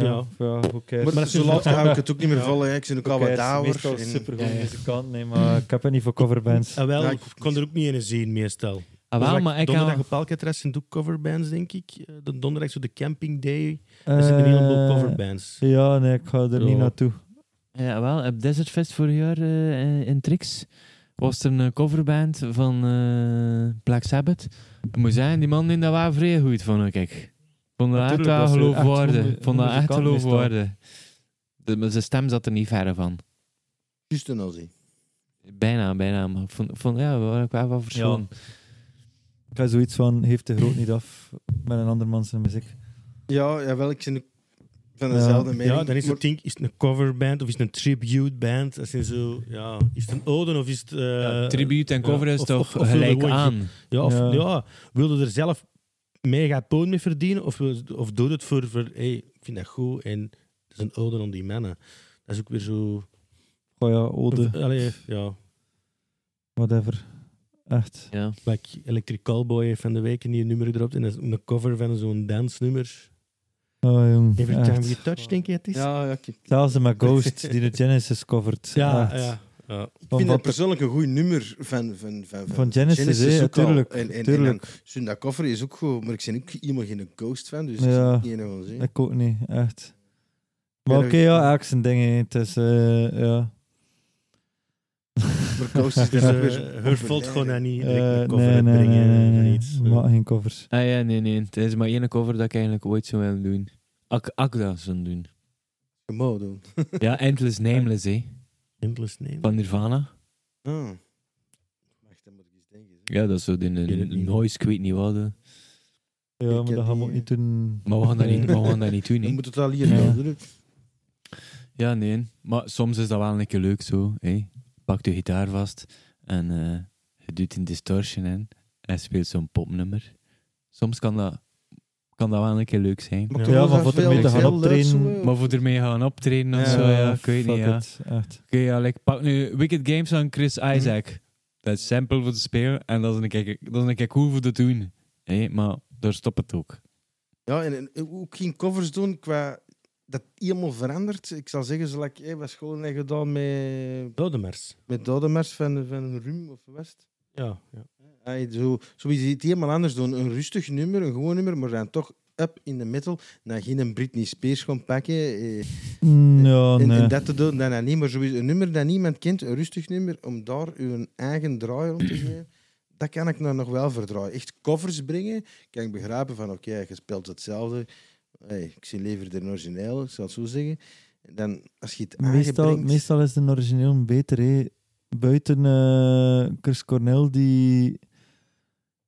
Ja, Ja. ja, who cares. Maar, Maar dat zo is- laat hou ik het ook niet meer vallen. hè. Ik ben ook al dus Who wat cares, ouder. Meestal en- super Ja, ja. muzikant, nee, maar ik heb het niet voor coverbands. Ah, wel, eh, Ja, ik- ik kon er ook niet in zien, meestal. Ah, Dus wel, like maar ik donderdag kan... op Alcatraz zijn ook coverbands, denk ik. Eh, De donderdag, zo de camping day. Er zitten een heleboel Eh, coverbands. Ja, nee, ik ga er niet Ja. naartoe. Ja, wel, op Desert Fest vorig jaar eh, eh, in Trix was er een coverband van eh, Black Sabbath. Ik moet zeggen, die man in dat waren vrij goed, vond ik. Ik vond dat echt wel Natuurlijk, dat ze echt geloofwaardig. goede- Ik vond dat goede echt muzikanten meestal. geloofwaardig. De- maar Zijn stem zat er niet verre van. Juist een Aussie. Bijna, bijna. Maar ik vond, ik vond ja, we waren wel wat verschillen. Ik ga zoiets van, heeft de groot niet af met een andermans muziek. Ja, jawel, ik ben ook van Ja. dezelfde mening. Ja, dan is maar- het ding, is het een coverband of is het een tribute band? Dat zijn zo, ja, is het een ode of is het... eh, Ja, tribute en ja, cover is of- toch of- of gelijk gewoon- aan. Ja, of, Ja. ja. wil je er zelf mega poon mee verdienen? Of, wil- of doe je het voor, voor hey, ik vind dat goed en het is een ode aan die mannen. Dat is ook weer zo... Oh ja, ode, Of, eh, allee, ja, whatever. Echt. Ja. like Electric Callboy heeft van de week een nieuw nummer gedropt en dat is een cover van zo'n dansnummer. Oh jong, Every echt. time you touch, denk je het is? Ja, ja, ik, ik Zelfs de Ghost, die de Genesis covert. ja. echt. ja, ja. Van, vind wat dat de- persoonlijk een goed nummer van, van, van, van Genesis, hè, ook al. tuurlijk, En, en, tuurlijk. en dan Sunda Koffer is ook goed, maar ik ben ook iemand geen ghost fan, dus Ja. ik ben niet van zien. ik ook niet, echt. Maar Ja, oké, dat- ja, elk zijn dingen. Het is, eh, ja. Maar ghost is Dus daar eh, weer her fault gewoon dat niet direct Eh, een cover uitbrengen en iets. eh, Maar geen covers. Ah ja, nee, nee. Het is maar één cover dat ik eigenlijk ooit zou willen doen. Ak, ak dat zou doen. Gewoon doen. ja, Endless Nameless, hè. Endless name. Van Nirvana. Ah. Wacht, dat moet ik eens denken. hè. Ja, dat is zo die weet het niet. noise, ik weet niet wat. eh. hè. Ja, maar heb dat gaan we ook die- niet doen. Maar we gaan dat niet, maar we gaan dat niet doen. Dan hè. moet het al hier Ja. wel doen. Ja, nee. Maar soms is dat wel een keer leuk zo. Hé. Pak je gitaar vast en eh, je doet een distortion in en speelt zo'n popnummer. Soms kan dat, kan dat wel een keer leuk zijn. Ja, toen maar was dat voor te veel- mee te gaan veel luid optreden, zo, eh, Maar voor ermee gaan optreden of Ja, zo, ja, ik weet fuck niet. Ja. Oké, it, Echt. ja, like, pak nu Wicked Games van Chris Isaac. Dat is simpel voor te spelen en dat is een keer, dat is een keer cool voor te doen. Hé, maar daar stopt het ook. Ja, en, en ook geen covers doen qua dat helemaal verandert. Ik zal zeggen, zoals ik hey, wat scholen heb gedaan met, Dodemers. met Dodemers van, van Rum of West. Ja, ja. Hey, zo, zo is het helemaal anders doen. Een rustig nummer, een gewoon nummer, maar dan toch up in de metal. Dan geen een Britney Spears gaan pakken. eh, Mm, Ja, en, en eh, nee. dat te doen, dan, dan niet. Maar sowieso een nummer dat niemand kent, een rustig nummer, om daar uw eigen draai rond te geven, dat kan ik nou nog wel verdraaien. Echt covers brengen, kan ik begrijpen van oké, je speelt hetzelfde. Hey, ik zie liever de originele, ik zal het zo zeggen. En Dan, als je het Meestal, aangebrengt... meestal is de origineel beter. Hè. Buiten eh, Chris Cornell, die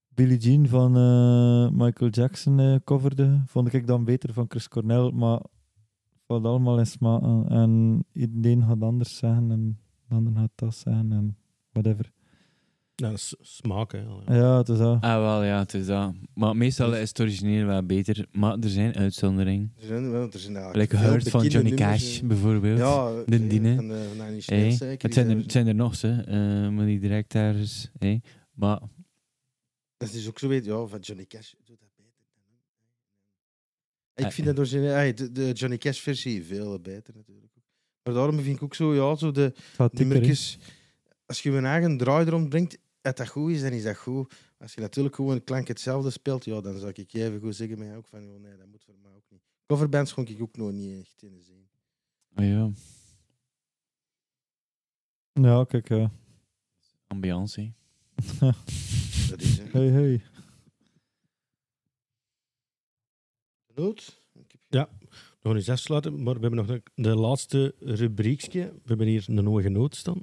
Billie Jean van eh, Michael Jackson eh, coverde, vond ik dan beter van Chris Cornell. Maar het valt allemaal in smaken. En iedereen gaat anders zeggen en de ander gaat dat zeggen en whatever. Nou, dat is smaak, hè. al, ja. Ja, het is dat. Ah, wel, ja, het is dat. Maar meestal is het origineel wel beter, maar er zijn uitzonderingen. Er zijn, want er zijn eigenlijk Like veel Hurt van bekende Johnny nummers, Cash, eh. bijvoorbeeld. Ja, eh, de Dine. Van de, van Annie Hey, Schnell, zeker. het, zijn er, Die het zijn er nog, ze. eh, maar die direct daar is. hey. Maar Dat is ook zo weet, ja, van Johnny Cash doet dat beter. Ik Ah, vind dat origineel, ah, de, de Johnny Cash versie veel beter natuurlijk. Maar daarom vind ik ook zo, ja, zo de Het gaat dikker, hè. nummertjes, als je je eigen draai erom brengt, dat dat goed is, dan is dat goed. Als je natuurlijk gewoon een klank hetzelfde speelt, ja, dan zou ik je even goed zeggen, maar ja, ook van, joh, nee, dat moet voor mij ook niet. Coverbands kon ik ook nog niet echt in de zin. oh ja, Ja, kijk, ja. ambiance. hey. Dat is, hè. Hey, hey. Nood? Ik heb- We gaan eens afsluiten, maar we hebben nog de, de laatste rubriekje. We hebben hier een hoge noot staan.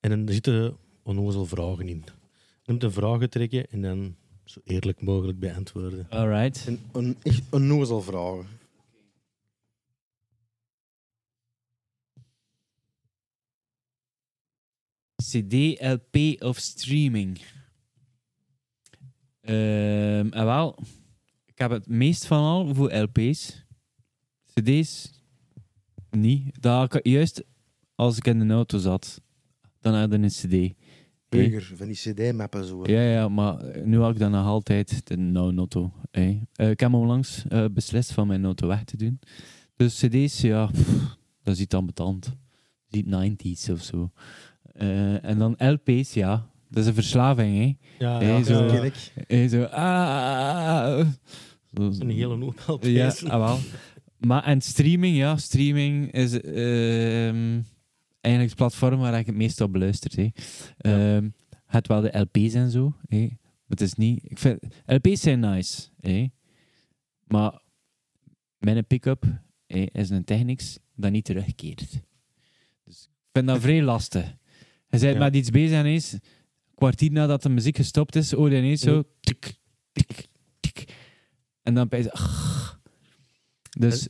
En dan zitten onnozel vragen in. Je moet een vragen trekken en dan zo eerlijk mogelijk beantwoorden. Alright. Een, een, echt een nozel vragen. CD, LP of streaming? Ehm en wel, ik heb het meest van al voor LP's. CD's niet. Dat had ik juist als ik in de auto zat, dan had ik een CD. Hey. Burger, van die cd-mappen zo. Ja, ja, maar eh, nu had ik dan nog altijd de nou notto. hè. Eh, ik heb onlangs eh, beslist van mijn notto weg te doen. Dus cd's, ja, pff, dat is iets ambetant. Die 90s of zo. Eh, en dan LP's, ja. Dat is een verslaving, hè. Ja, Hey, zo. Dat ken ik. Eh, zo, ah, ah, ah. Zo- Een hele hoop help. ja, ah, wel. Maar en streaming, ja, streaming is ehm, eigenlijk het platform waar ik het meest op beluister. hè. Ehm, het wel de LP's en zo. hè. Maar het is niet. Ik vind, LP's zijn nice. hè. Maar mijn pick-up hè, is een Technics dat niet terugkeert. Dus ik vind dat vrij lastig. Je bent Ja. met iets bezig en eens, kwartier nadat de muziek gestopt is, oh ineens zo. Tik, tik, tik. En dan bij Dus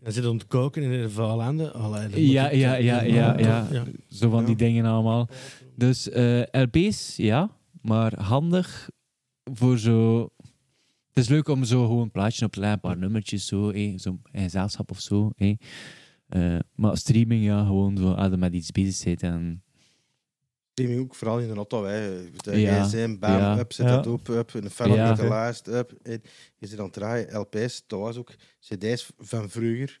Dan zit het ontkoken in de verhaalende. Allee, dat moet Ja, ik- ja, ja, ja, ja. ja. zo van Ja. die dingen allemaal. Dus eh, LP's, ja, maar handig voor zo. Het is leuk om zo gewoon een plaatje op te leggen, een paar nummertjes zo, eh, zo'n gezelschap of zo. eh. Eh, maar streaming, ja, gewoon zo, als je met iets bezig zit. En, Streaming ook vooral in de auto. Hè. De Ja. gsm, bam, Ja. up, zet Ja. dat op, up. Een film Ja. met de lijst, up. En je zit aan het draaien, LP's thuis ook. CD's van vroeger.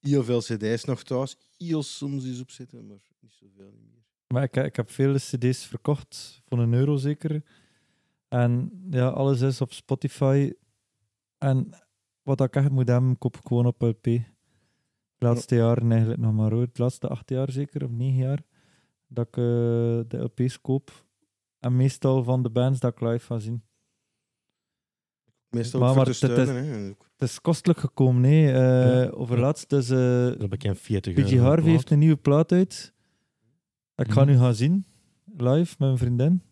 Heel veel CD's nog thuis. Heel soms is opzetten, maar niet zoveel meer. Maar ik, ik heb vele cd's verkocht, voor een euro zeker. En ja, alles is op Spotify. En wat ik echt moet hebben, koop ik gewoon op LP. De laatste jaren eigenlijk nog maar hoor. De laatste acht jaar zeker, of negen jaar, dat ik eh, de LP's koop. En meestal van de bands dat ik live ga zien. Meestal Maar- ook maar voor te dat is- steunen. Hè. En ook- Het is kostelijk gekomen, nee. Eh Ja. Overlaatst, dus eh, Dat bekend 40 PG euro Harvey plaat. heeft een nieuwe plaat uit. Ik ga Mhm. nu gaan zien, live met mijn vriendin.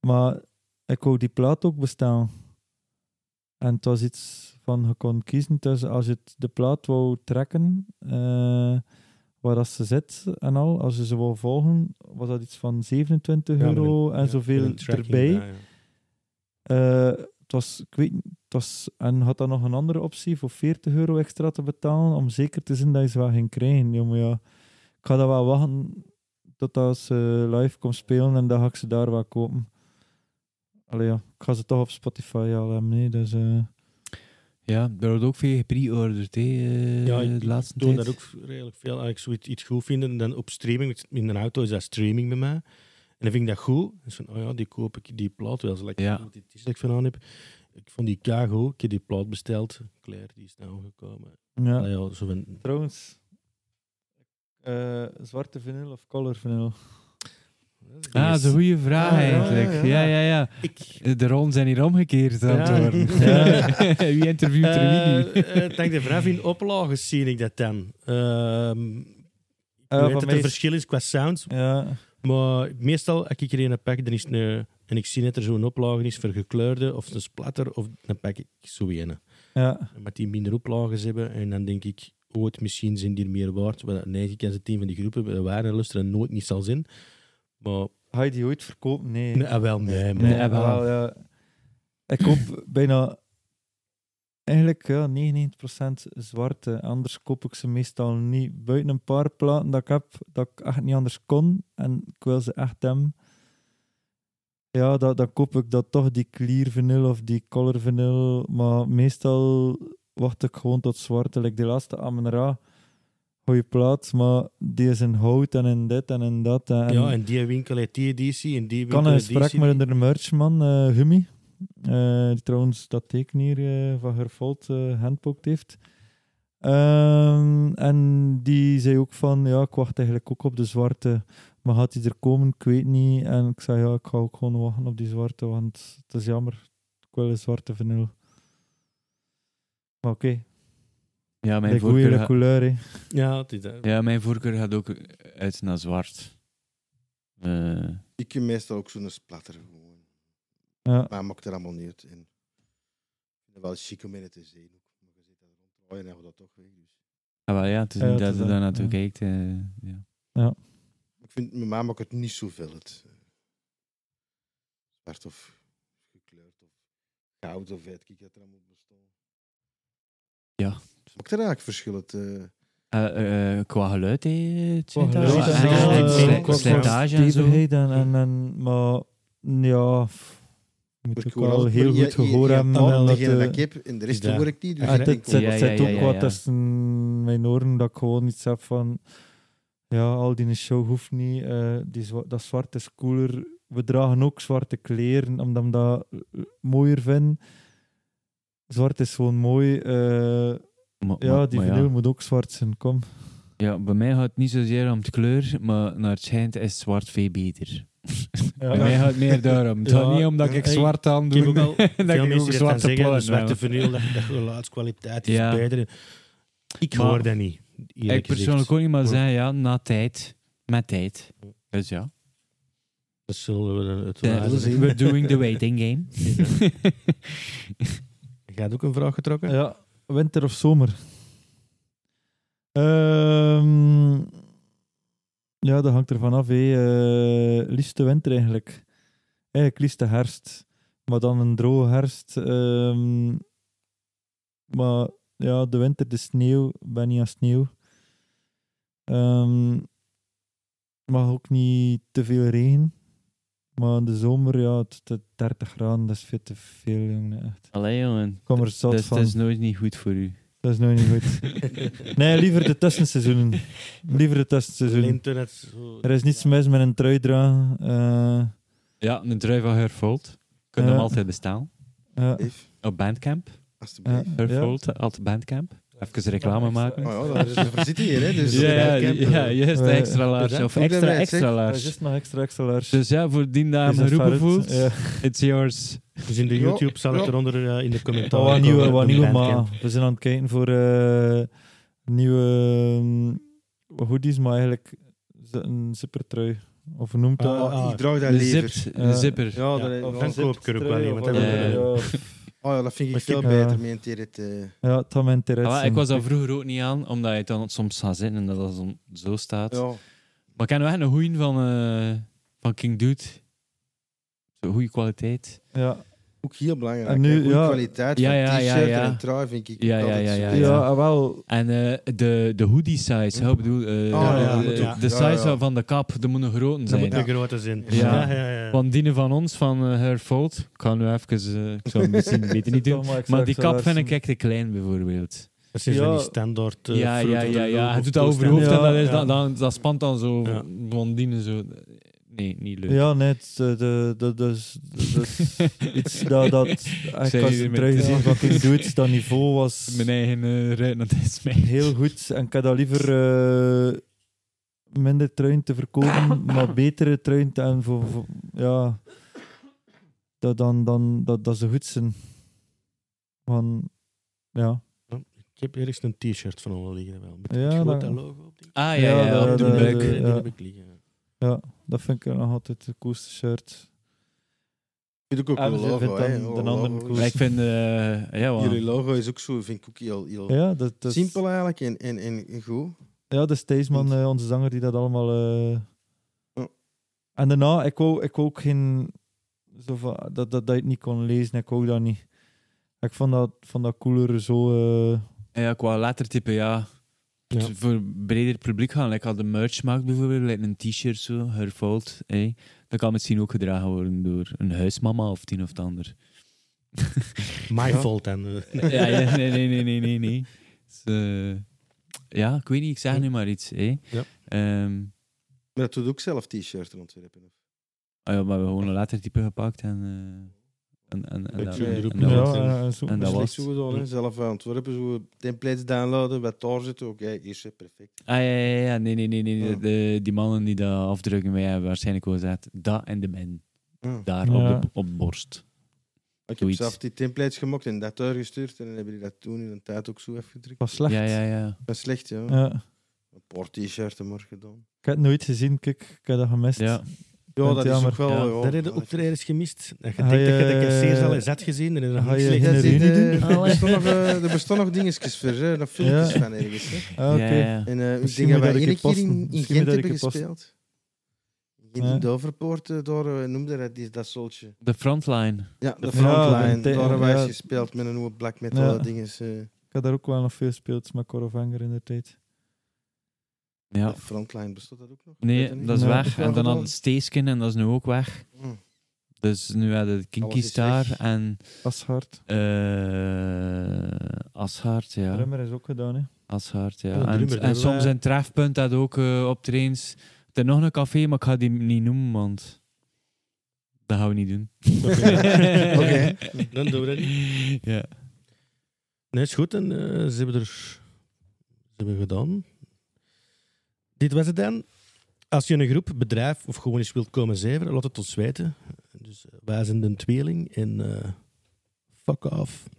Maar ik wou die plaat ook bestellen. En het was iets van, je kon kiezen tussen als je het- de plaat wou trekken, eh, waar dat ze zit en al, als je ze wou volgen, was dat iets van 27 Ja, met euro een- en ja, zoveel met een tracking erbij. daar, ja. Eh, het was, ik weet niet, het was, en had dan nog een andere optie voor 40 euro extra te betalen om zeker te zijn dat je ze wel ging krijgen. Ja, maar ja, ik ga dat wel wachten totdat ze live komt spelen en dan ga ik ze daar wel kopen. Allee ja, ik ga ze toch op Spotify al hebben, nee, dus... eh, Ja, daar wordt ook veel gepre-orderd, hè, eh, Ja, ik- de laatste Ik doe tijd. dat ook redelijk veel. Als ik zoiets iets goed vind, en dan op streaming, in een auto is dat streaming bij mij. En dan vind ik dat goed. En zo van, oh ja, die koop ik, die plaat wel. Zo lekker Ja. goed die t-shirt dat ik van aan heb. Ik vond die kago, ik heb die plaat besteld. Claire, die is nou gekomen. ja. Ja. Ja, zo van, Trouwens, eh, zwarte vinyl of color vinyl? Ah, dat is een goede vraag Ah, ja, eigenlijk. ja, Ja, ja. ja, ja. eh, Ik- Eh, De rollen zijn hier omgekeerd aan het Ja. worden. Ja. Wie interviewt er wie nu? Eh, eh, Dank de vraag in oplagen zie ik dat dan. Ehm Eh, ik Eh, van weet dat mij er is- verschil is qua sounds, Ja, maar meestal als ik er een pak, dan is het een- en ik zie net er zo'n oplage is voor gekleurde of een splatter, of dan pak ik zo een. ja. Met die minder oplages hebben en dan denk ik ooit misschien zijn die er meer waard. Maar dat neig ik als het team van die groepen waar en luisteren nooit niet zal zijn. Maar Ga je die ooit verkopen? Nee. nee, ah, wel nee, maar Nee, Ja, wel. wel, ja. Ik koop bijna eigenlijk ja, 99% zwarte. Anders koop ik ze meestal niet. Buiten een paar platen dat ik heb, dat ik echt niet anders kon en ik wil ze echt hebben. Ja, dan, dan koop ik dat toch die clear vinyl of die color vinyl. Maar meestal wacht ik gewoon tot zwarte. Like die laatste Amen-Ra, goeie plaat, maar die is in hout en in dit en in dat. En, ja, en die winkel heeft die editie en die ik kan winkel een heeft die gesprek editie. met een merchman, eh Gummy. Eh, die trouwens dat teken hier eh, van Herfold eh handpookt heeft. Ehm, en die zei ook van, ja, ik wacht eigenlijk ook op de zwarte. Maar gaat die er komen? Ik weet niet. En ik zei, ja, ik ga ook gewoon wachten op die zwarte, want het is jammer. Ik wil een zwarte vinyl. Maar oké, Ja, mijn de goede voorkeur ga- couleur, hè. Ja, het is eh, dat. ja, mijn voorkeur gaat ook uit naar zwart. Eh, Ik heb meestal ook zo'n splatter gewoon. Ja, Maar maakt er allemaal niet uit. En ik vind het wel chic om in het te zien. ook. Maar je zit daar ronddraaien en je gaat dat toch weg. Dus. ah, wel, ja, het is Ja, niet het dat is je dat, daar naartoe ja. kijkt. eh, ja. Ik vind, mijn ma maakt het niet zoveel. Het, eh, zwart of gekleurd of goud of weet ik dat er allemaal bestond. Ja. Maakt er eigenlijk verschil? Het, eh, Eh, eh, qua geluid, hè, het Qua zit daar. geluid Ja, en en al, slijt- eh, slijt- qua- qua slijtage en zo. stevigheid en, en, en- maar ja, pff, moet wordt ook gewoon wel als- heel je- goed je- je gehoord hebt hebben. al en dat, degene eh, dat ik heb en de rest is daar. hoor ik niet. Dus Ja, Ah, eh, dat het enkel- zit, Ja, het ja, zit ja, ook ja, wat ja. tussen mijn oren dat ik gewoon iets heb van... Ja, al die show hoeft niet. eh, die zwa- dat zwart is cooler. We dragen ook zwarte kleren, omdat we dat eh, mooier vinden. Zwart is gewoon mooi. eh, Maar- ja, maar- die maar vinyl moet ook zwart zijn, kom. Ja, bij mij gaat het niet zozeer om de kleur, maar naar het schijnt is zwart veel beter. bij mij gaat het meer daarom. Het gaat Ja, niet omdat ja, ik ik- zwart aan Ik heb doe. ook al en dat veel ik mensen ook die dat zwarte zeggen, de plaat zwarte heb. vinyl, dat, dat geluidskwaliteit is Ja. beter. Ik Maar hoor dat niet. eerlijk Ik persoonlijk gezegd. ook niet, maar Ja. zijn ja, na tijd, met tijd. Dus ja, Dat zullen we het wel De- laten zien. we're doing the waiting game. Jij had ook een vraag getrokken? Ja, winter of zomer? Ehm, ja, dat hangt ervan af. Hé. Eh, liefst de winter eigenlijk. Eigenlijk liefst de herfst. Maar dan een droge herfst. ehm. maar ja, de winter, de sneeuw. Ik ben niet aan sneeuw. Ehm, mag ook niet te veel regen. Maar in de zomer, ja, het, het 30 graden, dat is veel te veel, jongen. Echt. Allee jongen, Ik kom er zat dat is- van. dat is nooit niet goed voor u. Dat is nou niet goed. Nee, liever de tussenseizoenen. Liever de dus tussenseizoenen. Internet. zo- Er is niets mis met een trui dragen. Eh, Ja, een trui van Herfold. Kunnen Ja. hem altijd bestaan. ja. Eve, Op Bandcamp. alstublieft. eh, Ja. Herfold, altijd Bandcamp. Even reclame maken. Oh ja, daar is- daarvoor zit hij hier. Hè, dus Ja, ja, Bandcamp, eh, ja, juist de Eh, extra dus large. dat- Of ook dat extra wij het extra zeggen, Dat large. is juist nog extra extra large. Dus ja, voor die Is dame dat roepen Farret? voelt, Ja. it's yours. Dus in de Ja, YouTube zal ja. het eronder eh, in de Dat Oh, commentaren was nieuwe, komen, wat op nieuwe Bandcamp. maar We zijn aan het kijken voor eh, nieuwe ehm, hoodies, maar eigenlijk is dat een super trui. Of hoe noemt dat? Ah, ah, ik draag dat De, lever. zip, Eh, de zipper. Ja, dat, of ja, een zip. koopkrup alleen, want of- dat hebben we ja, gedaan. ja. Oh ja, dat vind Maar ik veel kijk, beter, ja. meen het eh Ja, het had mijn interesse. Ah, ik was daar vroeger ook niet aan, omdat je het dan soms gaat zitten en dat dat dan zo staat. Ja. Maar ik ken wel echt een goeie van, eh, van King Dude. Zo'n goede kwaliteit. Ja, Ook heel belangrijk. En nu, hè. Goeie ja. kwaliteit Ja, van ja, ja, t-shirt ja. en een trui vind ik Ja, ja, altijd ja, ja, ja, super. ah, wel. En eh, de, de hoodie size, hè, ik bedoel, eh, Oh, ja, ja, de, ja. de Ja, size ja. van de kap, dat moet een grote Dat zijn. moet Ja. een grote zin. Ja. Ja, ja, ja. Want die van ons, van eh, Her Fault, ik kan nu even, eh, ik zou het misschien beter niet doen. ik zou- Maar die zou kap vind daar ik echt te klein, bijvoorbeeld. Dat zijn Ja. van die standaard. eh, ja, ja, fruit of the ja, ja. loop Hij of doet dat over je toast hoofd en Ja, dat, is, ja. dan, dan, dat spant dan zo, Ja. blondine zo. Nee, niet leuk. Ja, nee, het, eh, de- de- dat is dat is iets dat... dat ik hier was met- teruggezien van King Dude, dat niveau was Mijn eigen eh, ruit, dat is mij. heel goed. En ik had dat liever eh, minder truien te verkopen, maar betere truien. te- En voor, voor- ja, dat, dan, dan, dat, dat ze goed zijn. Van, ja. Ik heb ergens een t-shirt van onder liggen. Wel, met Ja, het grote dat- logo op die. Ah ja, Ja, ja, dat- op de dat- buik. dat- Die ja. heb ik liggen. Dat vind ik nog altijd de coolste shirt. Ik vind ook Ah, een dus je logo, vindt dan hè. de Oh, andere logo. cool. Maar ik vind, eh, ja, wel. Jullie logo is ook zo, vind ik ook heel, heel Ja, dat, dat is- simpel eigenlijk en, en, en en goed. Ja, de Steesman, eh, onze zanger, die dat allemaal. eh. Ja. En daarna, ik wou, ik wou ook geen. Zo van, dat, dat, dat ik niet kon lezen, ik wou dat niet. Ik vond dat, vond dat cooler zo. eh, Ja, qua lettertype, ja. Ja. Het Voor breder publiek gaan. Like, had de merch maakt bijvoorbeeld, like een t-shirt zo, her fault. eh. Dat kan misschien ook gedragen worden door een huismama of tien of het ander. My Ja. fault en. eh, ja, ja, nee, nee, nee, nee, nee. nee. Dus, eh, ja, ik weet niet, ik zeg nu maar iets. eh. Ja. Ehm, Maar dat doet ook zelf t-shirten ontwerpen. ah ja, maar we hebben gewoon een lettertype gepakt en... eh, en, en, en, Met dat- jullie en roepen. dat Ja. was- eh, zo. en dat Dat was- is zo gedaan, hè. zelf aan ontwerpen, zo templates downloaden, wat daar zitten. Oké, hier is het, perfect. Ah ja, ja, ja, nee, nee, nee. nee. Ja. De, die mannen die dat afdrukken, wij hebben waarschijnlijk wel gezegd, dat en de men, Ja. daar Ja. op, de, op de borst. Ik heb Zoiets. zelf die templates gemaakt en dat doorgestuurd en dan hebben die dat toen in een tijd ook zo afgedrukt. was slecht. Ja, ja, ja. Dat is slecht, ja. Ja. Een paar t-shirts maar gedaan. Ik heb het nooit gezien, kijk, ik heb dat gemist. ja. Ja, het dat is jammer. ook wel... Ja, Ja, Dat heb je ook er ergens gemist. Dat je Ga denkt dat je de je- eh, casseerzaal is zet gezien en dan Ga had je- je Dat Nee, zit, nee, eh, nee. er, bestaan nog, eh, er bestaan nog dingetjes voor, hè, nog filmpjes Ja. van ergens. Hè. Ah, oké. Ja, ja. En eh, ik Misschien denk dat wij moet dat ik één keer het posten. in, in Misschien Gent moet dat ik hebben het posten. gespeeld. In Gent, Ja. in Doverpoort, eh, daar eh, noemde dat die- dat soltje. De frontline. Ja, de Ja, frontline. en te- daar hebben wij ja. eens gespeeld met een nieuwe black metal Ja. eh, dinges. eh, Ik heb daar ook wel nog veel gespeeld met Coravanger in de tijd. Ja. de frontline, bestond dat ook nog? Ik weet het Nee, niet. dat is Nee, weg. dat En dan wel had het Steeskin en dat is nu ook weg. Hm. Dus nu hadden de Kinky Alles is Star weg. en Ashard. eh Ashard, ja. Drummer is ook gedaan, hè. Ashard, ja. Oh, en drummer, en dat soms wij- in Trefpunt had ook eh optredens. Er is nog een café, maar ik ga die niet noemen, want dat gaan we niet doen. Oké. Dan doen we dat niet. Ja. Nee, is goed. En eh, ze hebben er... Ze hebben gedaan. Dit was het dan. Als je een groep, bedrijf of gewoon eens wilt komen zeveren, laat het ons weten. Dus eh, wij zijn de tweeling en eh, fuck off.